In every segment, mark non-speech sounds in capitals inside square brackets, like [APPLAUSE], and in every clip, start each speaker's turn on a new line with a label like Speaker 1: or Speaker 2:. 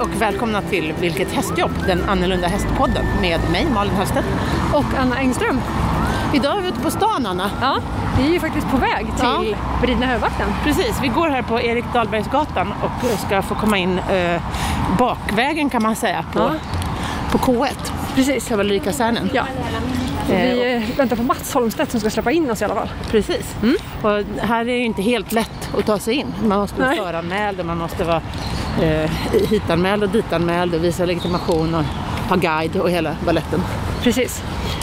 Speaker 1: och välkomna till Vilket hästjobb, den annorlunda hästpodden med mig Malin Höstedt.
Speaker 2: Och Anna Engström.
Speaker 1: Idag är vi ute på stan Anna.
Speaker 2: Ja, vi är ju faktiskt på väg till Bridna Hövvakten.
Speaker 1: Precis, vi går här på Erik Dahlbergsgatan och ska få komma in eh, bakvägen kan man säga på,
Speaker 2: Ja.
Speaker 1: på K1,
Speaker 2: Precis.
Speaker 1: kavallerikasernen.
Speaker 2: Ja. Så vi eh, väntar på Mats Holmstedt som ska släppa in oss i alla fall.
Speaker 1: Precis. Mm. Och här är det ju inte helt lätt att ta sig in. Man måste vara
Speaker 2: Nej.
Speaker 1: föranmäld och man måste vara eh, hitanmäld och ditanmäld och visa legitimation och ha guide och hela baletten.
Speaker 2: Precis.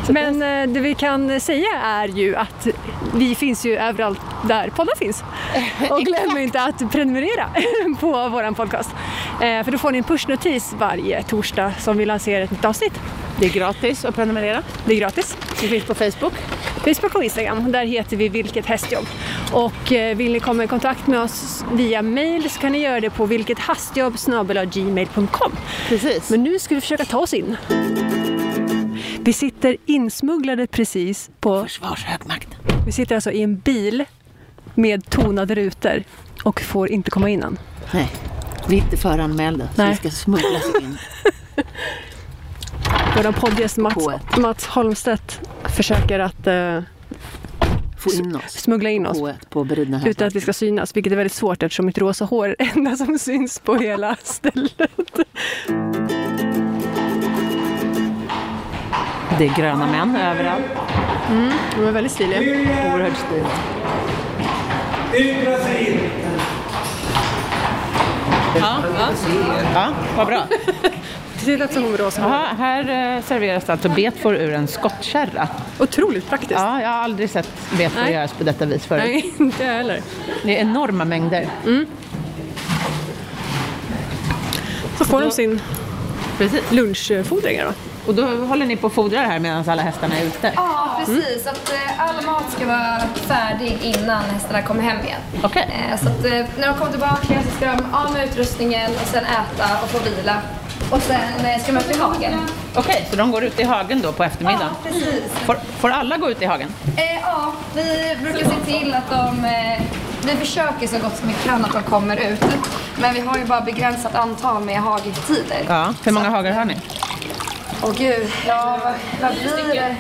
Speaker 2: Men eh, det vi kan säga är ju att vi finns ju överallt där poddar [LAUGHS] finns. Och glöm inte att prenumerera [LAUGHS] på vår podcast. Eh, För då får ni en pushnotis varje torsdag som vi lanserar ett nytt avsnitt.
Speaker 1: Det är gratis att prenumerera.
Speaker 2: Det är gratis.
Speaker 1: Det finns på Facebook.
Speaker 2: Facebook och Instagram. Där heter vi Vilket hästjobb. Och eh, vill ni komma i kontakt med oss via mail så kan ni göra det på vilkethastjobb.gmail.com.
Speaker 1: Precis.
Speaker 2: Men nu ska vi försöka ta oss in. Vi sitter insmugglade precis på...
Speaker 1: Försvarshögmakt.
Speaker 2: Vi sitter alltså i en bil med tonade rutor och får inte komma in än.
Speaker 1: Nej, vi är inte föranmälda så
Speaker 2: Nej.
Speaker 1: vi ska smugglas in.
Speaker 2: Vår poddgäst Mats,
Speaker 1: På ett.
Speaker 2: Mats Holmstedt försöker att eh,
Speaker 1: Få in oss
Speaker 2: smuggla in oss
Speaker 1: på, ett- på beridna högmakt.
Speaker 2: Utan att vi ska synas, vilket är väldigt svårt eftersom mitt rosa hår är det enda som syns på hela stället.
Speaker 1: Det är gröna män överallt.
Speaker 2: De är väldigt stiliga.
Speaker 1: Oerhört stiligt.
Speaker 3: Yttra sig in!
Speaker 1: Ja, ja. ja, vad bra.
Speaker 2: Det lät som om rosa hår.
Speaker 1: Ja, här eh, serveras alltså betfor ur en skottkärra.
Speaker 2: Otroligt praktiskt.
Speaker 1: Ja, jag har aldrig sett betfor
Speaker 2: Nej.
Speaker 1: göras på detta vis förut.
Speaker 2: Nej, inte jag heller.
Speaker 1: Det är enorma mängder.
Speaker 2: Så får de sin
Speaker 1: Precis.
Speaker 2: lunchfodring här då.
Speaker 1: Och då håller ni på och fodrar här medan alla hästarna är ute?
Speaker 4: Ja, precis. Att eh, all mat ska vara färdig innan hästarna kommer hem igen.
Speaker 1: Okej.
Speaker 4: Eh, Så att eh, när de kommer tillbaka så ska de av med utrustningen och sen äta och få vila. Och sen eh, ska de upp i hagen.
Speaker 1: Okej, så de går ut i hagen då på eftermiddagen?
Speaker 4: Ja, precis.
Speaker 1: Får, får alla gå ut i hagen?
Speaker 4: Eh, ja, vi brukar se till att de... Eh, vi försöker så gott vi kan att de kommer ut. Men vi har ju bara begränsat antal med hagetider.
Speaker 1: Ja. Hur många hagar har ni?
Speaker 4: Åh gud, ja vad, vad blir det?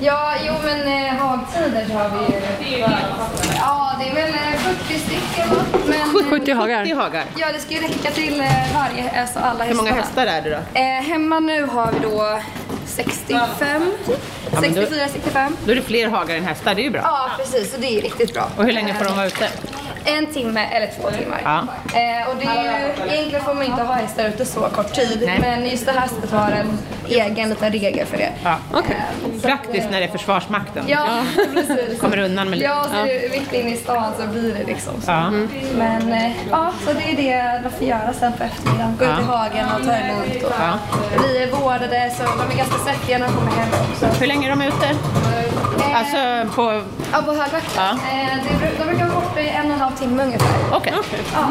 Speaker 4: Ja, jo men eh, hagtider så har vi ju. Ja, det är väl eh, 40 stycken va? Men, eh,
Speaker 2: 70
Speaker 1: 70
Speaker 2: hagar.
Speaker 1: hagar.
Speaker 4: Ja, det ska ju räcka till eh, varje, alltså
Speaker 1: Hur
Speaker 4: alla hästar.
Speaker 1: många hästar är det då?
Speaker 4: Eh, hemma nu har vi då 65,
Speaker 1: Ja, men då-
Speaker 4: 64, 65.
Speaker 1: Då är det fler hagar än hästar, det är ju bra.
Speaker 4: Ja, precis, och det är ju riktigt bra.
Speaker 1: Och hur länge får de vara ute?
Speaker 4: En timme eller två timmar.
Speaker 1: Ja.
Speaker 4: Eh, och det är ju, egentligen får man inte ha hästar ute så kort tid,
Speaker 1: Nej.
Speaker 4: men just det här sättet har en egen liten regel för det.
Speaker 1: Ja.
Speaker 2: Okej.
Speaker 1: Praktiskt när det är Försvarsmakten.
Speaker 4: Ja, precis.
Speaker 1: Kommer undan med lite.
Speaker 4: Ja, så är det mitt inne i stan så blir det liksom så.
Speaker 1: Ja.
Speaker 4: Men eh, ja, så det är det de får göra sen på eftermiddagen. Gå ut i hagen och ta det lugnt. Och,
Speaker 1: Ja.
Speaker 4: Vi är vårdade så de är ganska svettiga när de kommer hem också.
Speaker 1: Hur länge är de ute?
Speaker 4: Eh,
Speaker 1: Alltså på...
Speaker 4: ja, på högvakten.
Speaker 1: Ja.
Speaker 4: Eh, det bru- de brukar vara borta i en och en halv timme ungefär.
Speaker 1: Okej.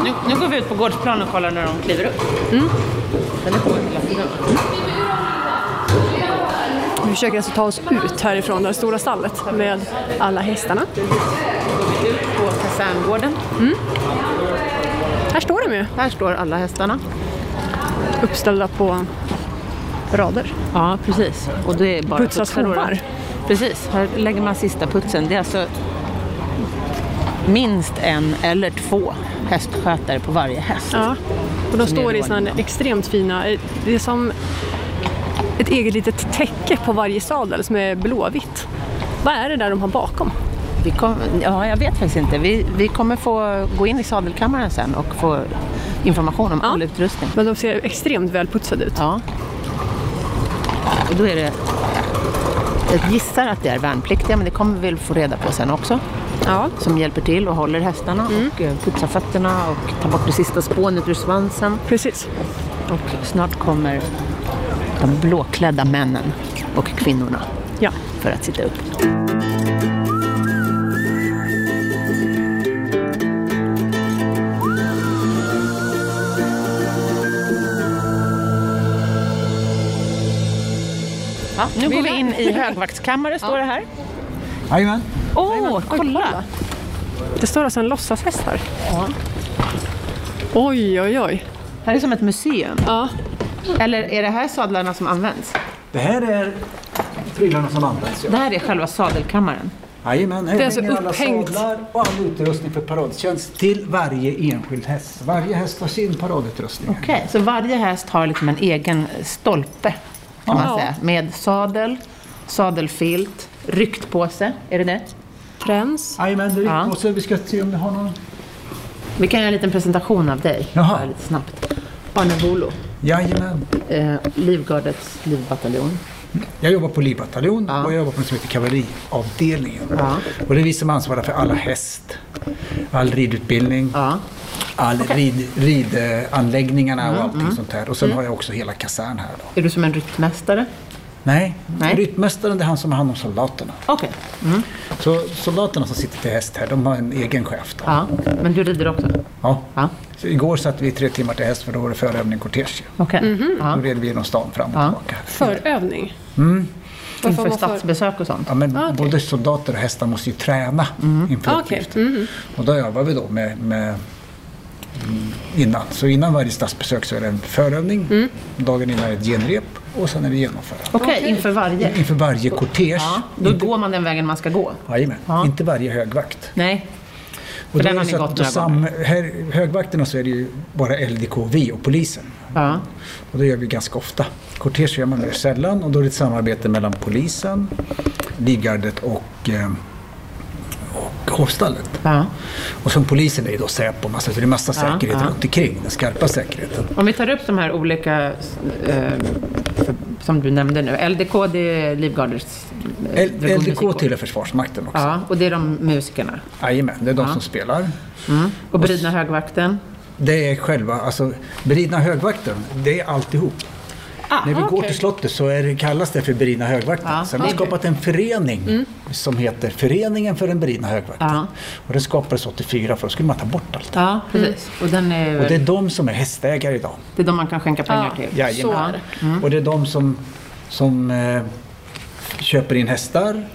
Speaker 1: Nu, nu går vi ut på gårdsplan och kollar när de kliver upp. Den är på hela tiden.
Speaker 2: Vi försöker alltså ta oss ut härifrån det här stora stallet med alla hästarna.
Speaker 1: Går vi ut på kaserngården.
Speaker 2: Här står de ju
Speaker 1: Här står alla hästarna.
Speaker 2: uppställda på rader.
Speaker 1: Ja, precis. Och det är bara
Speaker 2: Putsas
Speaker 1: putsar då, då.
Speaker 2: hovar.
Speaker 1: Precis, här lägger man sista putsen. Det är alltså minst en eller två hästskötare på varje häst.
Speaker 2: Ja. Och de
Speaker 1: Som
Speaker 2: står i sådana
Speaker 1: nedervåningen
Speaker 2: här extremt fina, eh, det är som ett eget litet täcke på varje sadel som är blåvitt. Vad är det där de har bakom?
Speaker 1: Vi kom, ja, jag vet faktiskt inte. Vi, vi kommer få gå in i sadelkammaren sen och få information om
Speaker 2: Ja.
Speaker 1: all utrustning.
Speaker 2: Men de ser extremt välputsade ut.
Speaker 1: Ja. Och då är det... Jag gissar att det är värnpliktiga, men det kommer vi väl få reda på sen också.
Speaker 2: Ja.
Speaker 1: Som hjälper till och håller hästarna och eh, putsar fötterna och tar bort det sista spånet ur svansen.
Speaker 2: Precis.
Speaker 1: Och snart kommer de blåklädda männen och kvinnorna
Speaker 2: Ja.
Speaker 1: för att sitta upp. Ja, nu går vi in i högvaktskammare, står det här.
Speaker 3: Jajamän.
Speaker 1: Åh, kolla!
Speaker 2: Det står alltså en låtsashäst här. Oj, oj, oj.
Speaker 1: här är som ett museum.
Speaker 2: Ja.
Speaker 1: Eller är det här sadlarna som används?
Speaker 3: Det här är prylarna som används. ja.
Speaker 1: Det här är själva sadelkammaren.
Speaker 3: Jajamän, här
Speaker 2: Det är alltså
Speaker 3: hänger alla
Speaker 2: upphängt.
Speaker 3: sadlar och all utrustning för paradtjänst till varje enskild häst. Varje häst har sin paradutrustning.
Speaker 1: Okej, så varje häst har liksom en egen stolpe kan man
Speaker 2: Ja.
Speaker 1: säga. Med sadel, sadelfilt, ryktpåse. Är det det?
Speaker 2: Träns.
Speaker 3: Jajamän, det är
Speaker 1: Ja.
Speaker 3: ja. så vi ska se om vi har någon...
Speaker 1: Vi kan göra en liten presentation av dig.
Speaker 3: Jaha.
Speaker 1: Bara Lite snabbt. Arne Bolo,
Speaker 3: Jajamän.
Speaker 1: eh, Livgardets livbataljon.
Speaker 3: Jag jobbar på livbataljon
Speaker 1: Ja.
Speaker 3: och jag jobbar på något som heter kavalleriavdelningen.
Speaker 1: Ja.
Speaker 3: Och det är vi som ansvarar för alla häst, all ridutbildning,
Speaker 1: Ja.
Speaker 3: all rid, ridanläggningarna
Speaker 1: Mm.
Speaker 3: och allting sånt här. Och sen har jag också hela kasern här. Då.
Speaker 1: Är du som en ryttmästare?
Speaker 3: Nej,
Speaker 1: Nej.
Speaker 3: ryttmästaren det är han som har hand om soldaterna.
Speaker 1: Okej.
Speaker 3: Så soldaterna som sitter till häst här, de har en egen chef. Då.
Speaker 1: Ja. Men du rider också?
Speaker 3: Ja.
Speaker 1: Ja.
Speaker 3: Så igår satt vi tre timmar till häst för då var det förövning kortege.
Speaker 1: Okej.
Speaker 3: Då
Speaker 1: Ja.
Speaker 3: red vi genom stan fram och
Speaker 1: Ja.
Speaker 3: tillbaka.
Speaker 2: Förövning. Varför har
Speaker 1: Inför
Speaker 2: man för-
Speaker 1: statsbesök och sånt?
Speaker 3: Ja, men
Speaker 2: Ah, okej.
Speaker 3: Både soldater och hästar måste ju träna
Speaker 1: Mm.
Speaker 3: inför
Speaker 2: Ah, okej.
Speaker 3: uppgiften. Och då övar vi då med, med mm, innan. Så innan varje statsbesök så är det en förövning,
Speaker 1: Mm.
Speaker 3: dagen innan är det ett genrep och sen är det genomförande.
Speaker 1: Okej, inför varje?
Speaker 3: Inför varje kortege,
Speaker 1: Ja. Då går man den vägen man ska gå?
Speaker 3: Jajamän,
Speaker 1: Ja.
Speaker 3: inte varje högvakt.
Speaker 1: Nej.
Speaker 3: Och
Speaker 1: För
Speaker 3: då
Speaker 1: den
Speaker 3: är
Speaker 1: har
Speaker 3: det
Speaker 1: ni
Speaker 3: så
Speaker 1: gått
Speaker 3: att då
Speaker 1: några
Speaker 3: sam, här, högvakterna så är det ju bara LDKV och polisen.
Speaker 1: Ja.
Speaker 3: Och det gör vi ganska ofta. Kortege gör man mer sällan och då är det ett samarbete mellan polisen, livgardet och, eh, och hovstallet.
Speaker 1: Ja.
Speaker 3: Och som polisen är ju då Säpo, massa, så det är massa säkerhet
Speaker 1: ja.
Speaker 3: runt omkring, den skarpa säkerheten.
Speaker 1: Om vi tar upp de här olika eh, som du nämnde nu. LDK, det är Livgardets... eh,
Speaker 3: L-
Speaker 1: Dragon
Speaker 3: LDK
Speaker 1: Musikkår.
Speaker 3: tillhör Försvarsmakten också.
Speaker 1: Ja, och det är de musikerna.
Speaker 3: Jajamän, det är de
Speaker 1: Ja.
Speaker 3: som spelar.
Speaker 1: Och Brydna högvakten.
Speaker 3: Det är själva, alltså beridna högvakten, det är alltihop. När vi går
Speaker 2: Ah, okej. Ah,
Speaker 3: till slottet så är det, kallas det för beridna högvakten.
Speaker 1: Ja,
Speaker 3: Sen har vi
Speaker 1: okej.
Speaker 3: skapat en förening
Speaker 2: Mm.
Speaker 3: som heter Föreningen för den beridna högvakten.
Speaker 2: Ah.
Speaker 1: Ja.
Speaker 3: Och det skapades 84 för då skulle man ta bort allt.
Speaker 1: Ja, precis. Och, den är,
Speaker 3: Och det är
Speaker 2: Mm.
Speaker 1: det...
Speaker 3: de som är hästägare idag.
Speaker 1: är de man kan skänka pengar
Speaker 2: Ja.
Speaker 1: till.
Speaker 3: Jajamän.
Speaker 2: Så är det. Mm.
Speaker 3: Och det är de som, som eh, köper in hästar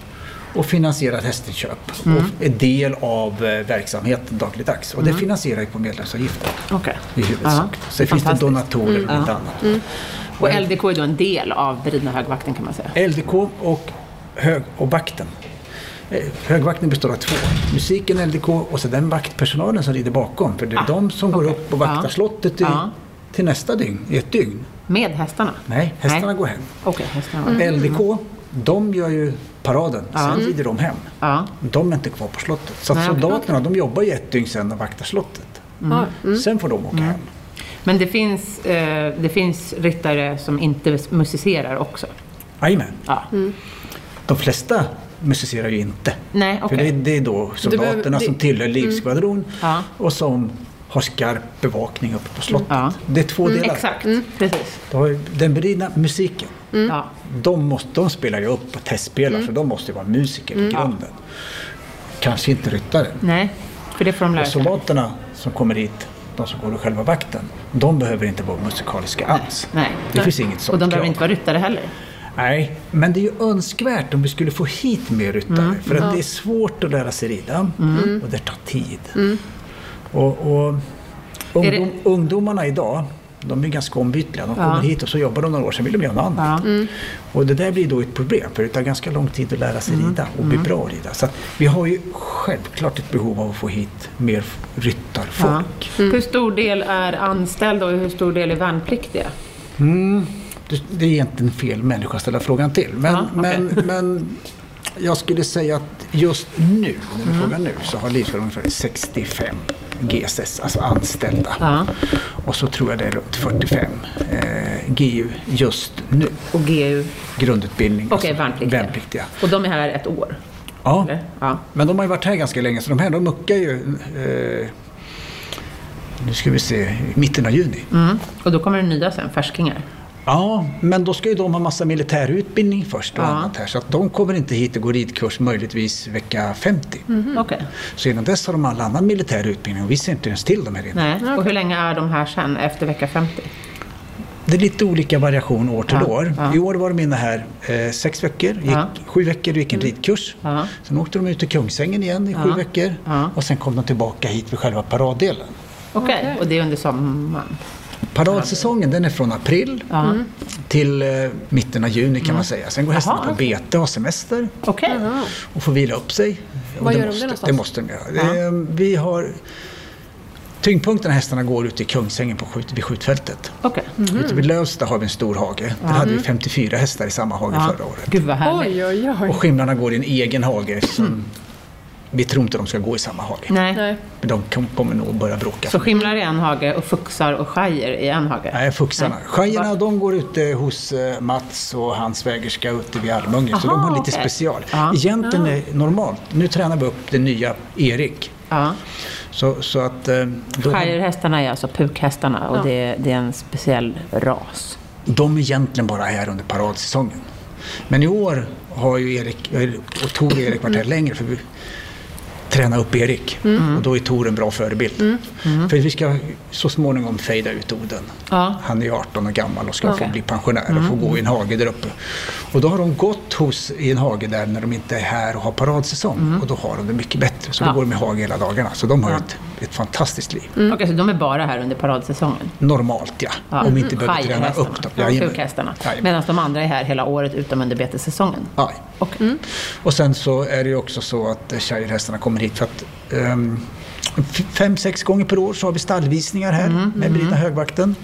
Speaker 3: och finansierar hästinköp
Speaker 2: Mm.
Speaker 3: och är del av eh, verksamheten dagligdags. Och
Speaker 2: Mm.
Speaker 3: det finansierar ju på medlemsavgiften
Speaker 1: Okej.
Speaker 3: i huvudsak.
Speaker 1: Ja,
Speaker 3: Sen finns det
Speaker 1: fantastiskt. Mm.
Speaker 3: donatorer och lite annat.
Speaker 1: Och LDK är då en del av Brydna högvakten kan man säga.
Speaker 3: LDK och, hög, och vakten. Eh, Högvakten består av två. Musiken, LDK och så den vaktpersonalen som rider bakom. För det är de som går
Speaker 1: Ah, okej.
Speaker 3: upp och vaktar
Speaker 1: Ja.
Speaker 3: slottet i,
Speaker 1: Ja.
Speaker 3: till nästa dygn, i ett dygn.
Speaker 1: Med hästarna?
Speaker 3: Nej, hästarna
Speaker 1: Nej.
Speaker 3: går hem.
Speaker 1: Okej, hästarna. Mm.
Speaker 3: LDK, de gör ju paraden, sen rider de hem.
Speaker 1: Ja.
Speaker 3: De är inte kvar på slottet. Så att
Speaker 1: Nej, okej. Mm.
Speaker 3: soldaterna de jobbar ju ett dygn sen och vaktar slottet.
Speaker 2: Ja.
Speaker 3: Sen får de åka hem.
Speaker 1: Men det finns, eh, det finns ryttare som inte musicerar också?
Speaker 3: Jajamän.
Speaker 1: Ja.
Speaker 3: De flesta musicerar ju inte.
Speaker 1: Nej, okej.
Speaker 3: För det, det är då soldaterna
Speaker 2: behöver- det-
Speaker 3: som tillhör livskvadron
Speaker 1: mm. Ja.
Speaker 3: och som har skarp bevakning uppe på slottet.
Speaker 1: Ja. Mm,
Speaker 3: Det är två delar.
Speaker 1: Exakt, Mm. precis.
Speaker 3: Du har ju den beridna musiken.
Speaker 1: Ja.
Speaker 3: De, måste, de spelar ju upp och testspelar
Speaker 1: Mm.
Speaker 3: så de måste ju vara musiker i grunden. Kanske inte ryttare.
Speaker 1: Nej, för det får de lära
Speaker 3: Och
Speaker 1: sig.
Speaker 3: soldaterna som kommer hit, de som går i själva vakten, de behöver inte vara musikaliska alls.
Speaker 1: Nej.
Speaker 3: Det finns inget sånt
Speaker 1: Och de behöver
Speaker 3: krav.
Speaker 1: inte vara ryttare heller.
Speaker 3: Nej, men det är ju önskvärt om vi skulle få hit mer ryttare.
Speaker 1: Mm.
Speaker 3: För att det är svårt att lära sig rida och det tar tid. Och, och
Speaker 1: Mm. Är det-
Speaker 3: ungdom, ungdomarna idag, de är ganska ombytliga. De kommer hit och så jobbar de några år, sen vill de göra något annat.
Speaker 1: Mm.
Speaker 3: Och det där blir då ett problem, för det tar ganska lång tid att lära sig
Speaker 1: Mm.
Speaker 3: rida och bli bra att rida. Så att vi har ju självklart ett behov av att få hit mer ryttarfolk.
Speaker 1: Hur stor del är anställda och hur stor del är värnpliktiga?
Speaker 3: Det det är egentligen fel människa att ställa frågan till. Men,
Speaker 1: Ja, okej.
Speaker 3: men, men jag skulle säga att just nu, när du
Speaker 1: Mm.
Speaker 3: frågar nu, så har Livsfjäll ungefär 65 GSS, alltså anställda.
Speaker 1: Ja.
Speaker 3: Och så tror jag det är runt 45 eh, GU just nu.
Speaker 1: Och GU?
Speaker 3: Grundutbildning.
Speaker 1: Okej,
Speaker 3: alltså
Speaker 1: värnpliktiga.
Speaker 3: värnpliktiga.
Speaker 1: Och de är här ett år?
Speaker 3: Ja.
Speaker 1: Eller? Ja.
Speaker 3: Men de har ju varit här ganska länge, så de här de muckar ju eh, nu ska vi se, i mitten av juni.
Speaker 1: Mm. Och då kommer det nya sen, färskingar?
Speaker 3: Ja, men då ska ju de ha massa militärutbildning först och
Speaker 1: Ja.
Speaker 3: annat här. Så att de kommer inte hit och går ridkurs möjligtvis vecka 50.
Speaker 1: Okej.
Speaker 3: Så innan dess har de all annan militär utbildning och vi ser inte ens till dem här inne.
Speaker 1: Nej. Och hur länge är de här sen, efter vecka 50?
Speaker 3: Det är lite olika variation år till
Speaker 1: Ja,
Speaker 3: år.
Speaker 1: ja.
Speaker 3: I år var de inne här eh, sex veckor, gick,
Speaker 1: Ja. Mm.
Speaker 3: sju veckor och gick en ridkurs.
Speaker 1: Ja.
Speaker 3: Sen åkte de ut till Kungsängen igen i
Speaker 1: Ja.
Speaker 3: sju veckor
Speaker 1: Ja.
Speaker 3: och sen kom de tillbaka hit vid själva paraddelen.
Speaker 1: Okej, och det är under sommaren?
Speaker 3: Paradsäsongen den är från april
Speaker 1: Ja. Mm.
Speaker 3: till eh, mitten av juni kan man säga. Sen går hästarna
Speaker 1: Jaha.
Speaker 3: på bete och har semester
Speaker 1: Okej.
Speaker 3: och får vila upp sig. Och
Speaker 5: Vad gör de det
Speaker 3: måste,
Speaker 5: någonstans?
Speaker 3: Det måste de göra. Eh, Vi har... Tyngdpunkten av hästarna går ute i Kungsängen på skjut, vid skjutfältet.
Speaker 1: Okej.
Speaker 3: Ute vid Lövsta har vi en stor hage. Där hade vi 54 hästar i samma hage
Speaker 1: Mm. Ja.
Speaker 3: förra året.
Speaker 1: Gud vad
Speaker 5: Oj,
Speaker 1: härligt.
Speaker 5: oj, oj.
Speaker 3: Och skimlarna går i en egen hage. eftersom Vi tror inte de ska gå i samma hage.
Speaker 1: Nej.
Speaker 5: Nej.
Speaker 3: Men de kom- kommer nog börja bråka.
Speaker 1: Så skimlar i en hage och fuxar och skajer i en hage?
Speaker 3: Nej, fuxarna. Schajerna de går ute hos eh, Mats och hans svägerska ute vid Almunge, så
Speaker 1: Aha,
Speaker 3: de har lite
Speaker 1: okej.
Speaker 3: special.
Speaker 1: Ja.
Speaker 3: Egentligen är normalt. Nu tränar vi upp den nya Erik.
Speaker 1: Ja.
Speaker 3: Så, så att... eh, De,
Speaker 1: Shirehästarna är alltså pukhästarna och det, är, det är en speciell ras.
Speaker 3: de är egentligen bara här under paradsäsongen. Men i år har ju Erik, eh, och Tor och Erik varit här längre för vi tränar upp Erik.
Speaker 1: Mm.
Speaker 3: Och då är Tor en bra förebild. För vi ska så småningom fejda ut Oden.
Speaker 1: Ja. Mm.
Speaker 3: Han är 18 år gammal och ska
Speaker 1: Okej.
Speaker 3: få bli pensionär och få gå i en hage där uppe. Och då har de gått hos, i en hage där när de inte är här och har paradsäsong. Och då har de det mycket bättre. Så
Speaker 1: Mm. Ja.
Speaker 3: då går de i hage hela dagarna. Så de har ett, ett fantastiskt liv.
Speaker 1: Okej, så de är bara här under paradsäsongen?
Speaker 3: Normalt ja, om vi inte behöver träna
Speaker 1: Shirehästarna.
Speaker 3: upp dem.
Speaker 1: Ja,
Speaker 3: Jajamän.
Speaker 1: pukhästarna.
Speaker 3: Jajamän.
Speaker 1: Medan de andra är här hela året utom under betessäsongen?
Speaker 3: Ja.
Speaker 1: Okej.
Speaker 3: Och sen så är det ju också så att eh, shirehästarna kommer hit för att ehm, f- fem, sex gånger per år så har vi stallvisningar här med Brina Högvakten.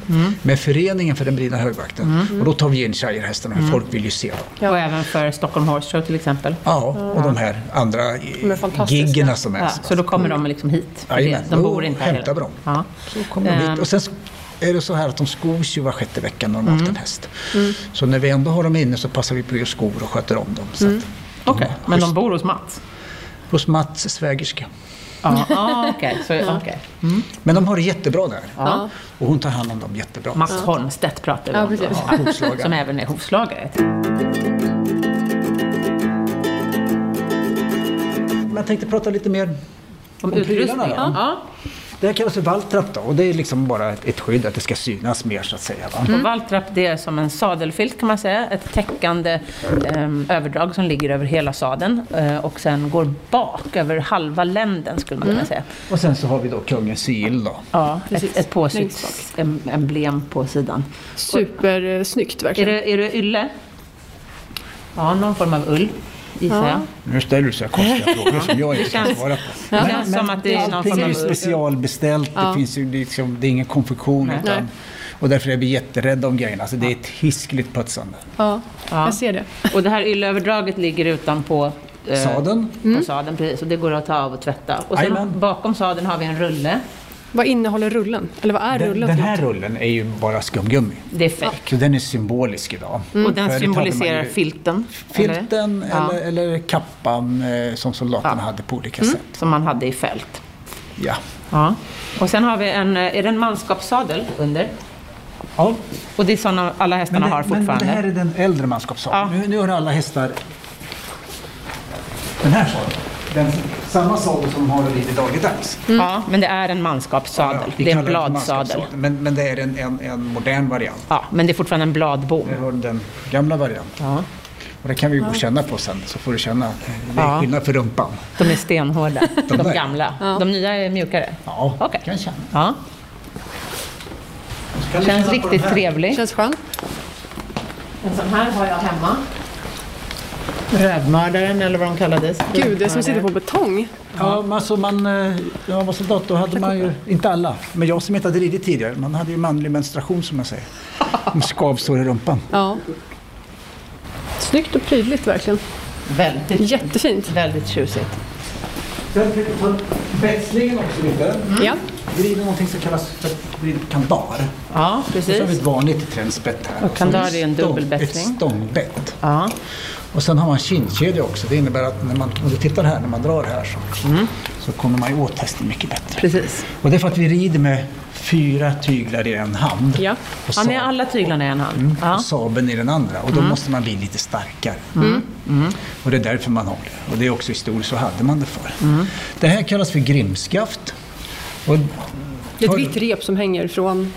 Speaker 3: Med föreningen för den Brina Högvakten. Och då tar vi in shirehästarna för folk vill ju se dem.
Speaker 1: Och även för Stockholm Horse Show till exempel?
Speaker 3: Ja, och de här andra eh,
Speaker 5: De är fantastiska.
Speaker 3: giggerna som är.
Speaker 1: Ja, så då kommer de liksom hit? för
Speaker 3: Jajamän.
Speaker 1: det. De bor
Speaker 3: Då
Speaker 1: inte här?
Speaker 3: hämtar vi
Speaker 1: hela-
Speaker 3: dem.
Speaker 1: Ja.
Speaker 3: Så kommer de
Speaker 1: Ehm.
Speaker 3: hit. Och sen s- är det så här att de skos ju var sjätte vecka normalt en häst. Så när vi ändå har dem inne så passar vi på att göra skor och sköter om dem. Så att de
Speaker 1: Okej,
Speaker 3: har
Speaker 1: men de
Speaker 3: schysst.
Speaker 1: bor hos Mats?
Speaker 3: Hos Mats svägerska.
Speaker 1: Ja, ah, okej. så- okej.
Speaker 3: Men de har det jättebra där.
Speaker 1: Ja.
Speaker 3: Och hon tar hand om dem jättebra.
Speaker 1: Mats Holmstedt pratar vi
Speaker 5: Ja,
Speaker 1: om då.
Speaker 5: precis.
Speaker 3: Ja, hovslagare.
Speaker 1: Som även är hovslagare.
Speaker 3: Men Jag tänkte prata lite mer
Speaker 1: Om
Speaker 3: om prylarna
Speaker 1: utrustningen.
Speaker 3: då.
Speaker 1: Ja.
Speaker 3: Det här kallas för valtrap då, och det är liksom bara ett ett skydd att det ska synas mer så att säga. Va?
Speaker 1: Och Valtrap det är som en sadelfilt kan man säga, ett täckande ehm, överdrag som ligger över hela sadeln eh, och sen går bak över halva länden skulle man kunna säga.
Speaker 3: Och sen så har vi då kungens sigill då.
Speaker 1: Mm. Ja, ett,
Speaker 5: Precis.
Speaker 1: ett
Speaker 5: Längst
Speaker 1: påsytt em- emblem på sidan.
Speaker 5: Supersnyggt
Speaker 1: Är
Speaker 5: verkligen.
Speaker 1: det, är det ylle? Ja, någon form av ull gissar jag.
Speaker 3: Nu ställer du så
Speaker 1: [LAUGHS]
Speaker 3: här konstiga frågor som jag inte kan
Speaker 1: känns-
Speaker 3: svara på.
Speaker 1: det känns som att det är någon
Speaker 3: allting
Speaker 1: form
Speaker 3: är ju
Speaker 1: av-
Speaker 3: specialbeställt, det, finns ju liksom, det är ingen konfektion.
Speaker 1: Nej.
Speaker 3: Utan,
Speaker 5: Nej.
Speaker 3: och därför är vi jätterädda om grejerna. Alltså, det är ett hiskligt putsande.
Speaker 5: Ja,
Speaker 1: Ja.
Speaker 5: jag ser det.
Speaker 1: Och det här ylleöverdraget ligger utanpå eh,
Speaker 3: Sadeln.
Speaker 1: På sadeln, precis. Och det går att ta av och tvätta. Och sen
Speaker 3: Jajamän.
Speaker 1: bakom sadeln har vi en rulle.
Speaker 5: Vad innehåller rullen? Eller vad är
Speaker 3: Den,
Speaker 5: rullen?
Speaker 3: den
Speaker 5: för
Speaker 3: här
Speaker 5: något?
Speaker 3: rullen är ju bara skumgummi.
Speaker 1: Det är fake.
Speaker 3: Så den är symbolisk idag.
Speaker 1: Mm. Och
Speaker 3: Förut
Speaker 1: den
Speaker 3: hade
Speaker 1: symboliserar
Speaker 3: man ju
Speaker 1: filten. eller?
Speaker 3: Filten eller,
Speaker 1: Ja.
Speaker 3: eller, kappan eh, som soldaterna hade på olika sätt.
Speaker 1: Som man hade i fält.
Speaker 3: Ja.
Speaker 1: Ja. Och sen har vi en, eh, är det en manskapssadel under?
Speaker 3: ja.
Speaker 1: Och det är sådana alla hästarna har
Speaker 3: men
Speaker 1: fortfarande.
Speaker 3: det här är den äldre manskapssadeln.
Speaker 1: Ja.
Speaker 3: Nu, nu har alla hästar den här sadeln. Den, samma sadel som har lite dagligdags.
Speaker 1: Mm. Ja, men det är en manskapssadel.
Speaker 3: Ja, vi
Speaker 1: det är en
Speaker 3: kallar för
Speaker 1: bladsadel.
Speaker 3: manskapssadel, Men, men det är en, en, en modern variant.
Speaker 1: Ja, men det är fortfarande en bladbom.
Speaker 3: Vi har den gamla varianten.
Speaker 1: Ja.
Speaker 3: Och det kan vi ju gå och känna på sen, så får du känna. Det
Speaker 1: Ja.
Speaker 3: är skillnad för rumpan.
Speaker 1: De är
Speaker 3: [LAUGHS]
Speaker 1: stenhårda, de,
Speaker 3: där.
Speaker 1: gamla. De nya är mjukare.
Speaker 3: Ja,
Speaker 1: Okej.
Speaker 3: kan känna.
Speaker 1: Ja.
Speaker 3: Kan du känna
Speaker 1: Känns
Speaker 3: på den
Speaker 1: riktigt
Speaker 3: här?
Speaker 1: trevlig.
Speaker 5: Känns skön?
Speaker 1: En sån här har jag hemma. Rövmördaren eller vad de kallades.
Speaker 5: Gud, det är som sitter på betong.
Speaker 3: Ja, men alltså man, eh, jag var soldat, då hade man ju, inte alla, men jag som inte hade ridit tidigare, man hade ju manlig menstruation som man [LAUGHS] säger. Med skavsår i rumpan.
Speaker 5: Ja. Snyggt och prydligt verkligen.
Speaker 1: Väldigt,
Speaker 5: Jättefint.
Speaker 1: väldigt tjusigt.
Speaker 3: Sen fick vi ta betslingen också lite.
Speaker 5: Mm. Ja.
Speaker 3: Vi rider någonting som kallas för vi rider kandar.
Speaker 1: Ja,
Speaker 3: Och så har vi
Speaker 1: precis.
Speaker 3: ett vanligt trendsbett här.
Speaker 1: Och kandar är en
Speaker 3: Ett stång-
Speaker 1: dubbelbättring.
Speaker 3: Ett stångbett.
Speaker 1: Ja.
Speaker 3: Och sen har man kindkedja också. Det innebär att när man, om du tittar här, när man drar här så, så kommer man ju åt hästen mycket bättre.
Speaker 1: Precis.
Speaker 3: Och det är för att vi rider med fyra tyglar i en hand.
Speaker 5: Ja.
Speaker 3: Och
Speaker 1: Han är
Speaker 3: sadel.
Speaker 1: alla tyglarna i en hand.
Speaker 3: och
Speaker 1: Ja. Mm.
Speaker 3: sabeln i den andra. Och då måste man bli lite starkare. Och det är därför man har det. Och det är också historiskt, så hade man det förr.
Speaker 1: Mm.
Speaker 3: Det här kallas för grimskaft. Och
Speaker 5: Det är
Speaker 3: Har
Speaker 5: ett
Speaker 3: du-
Speaker 5: vitt rep som hänger från...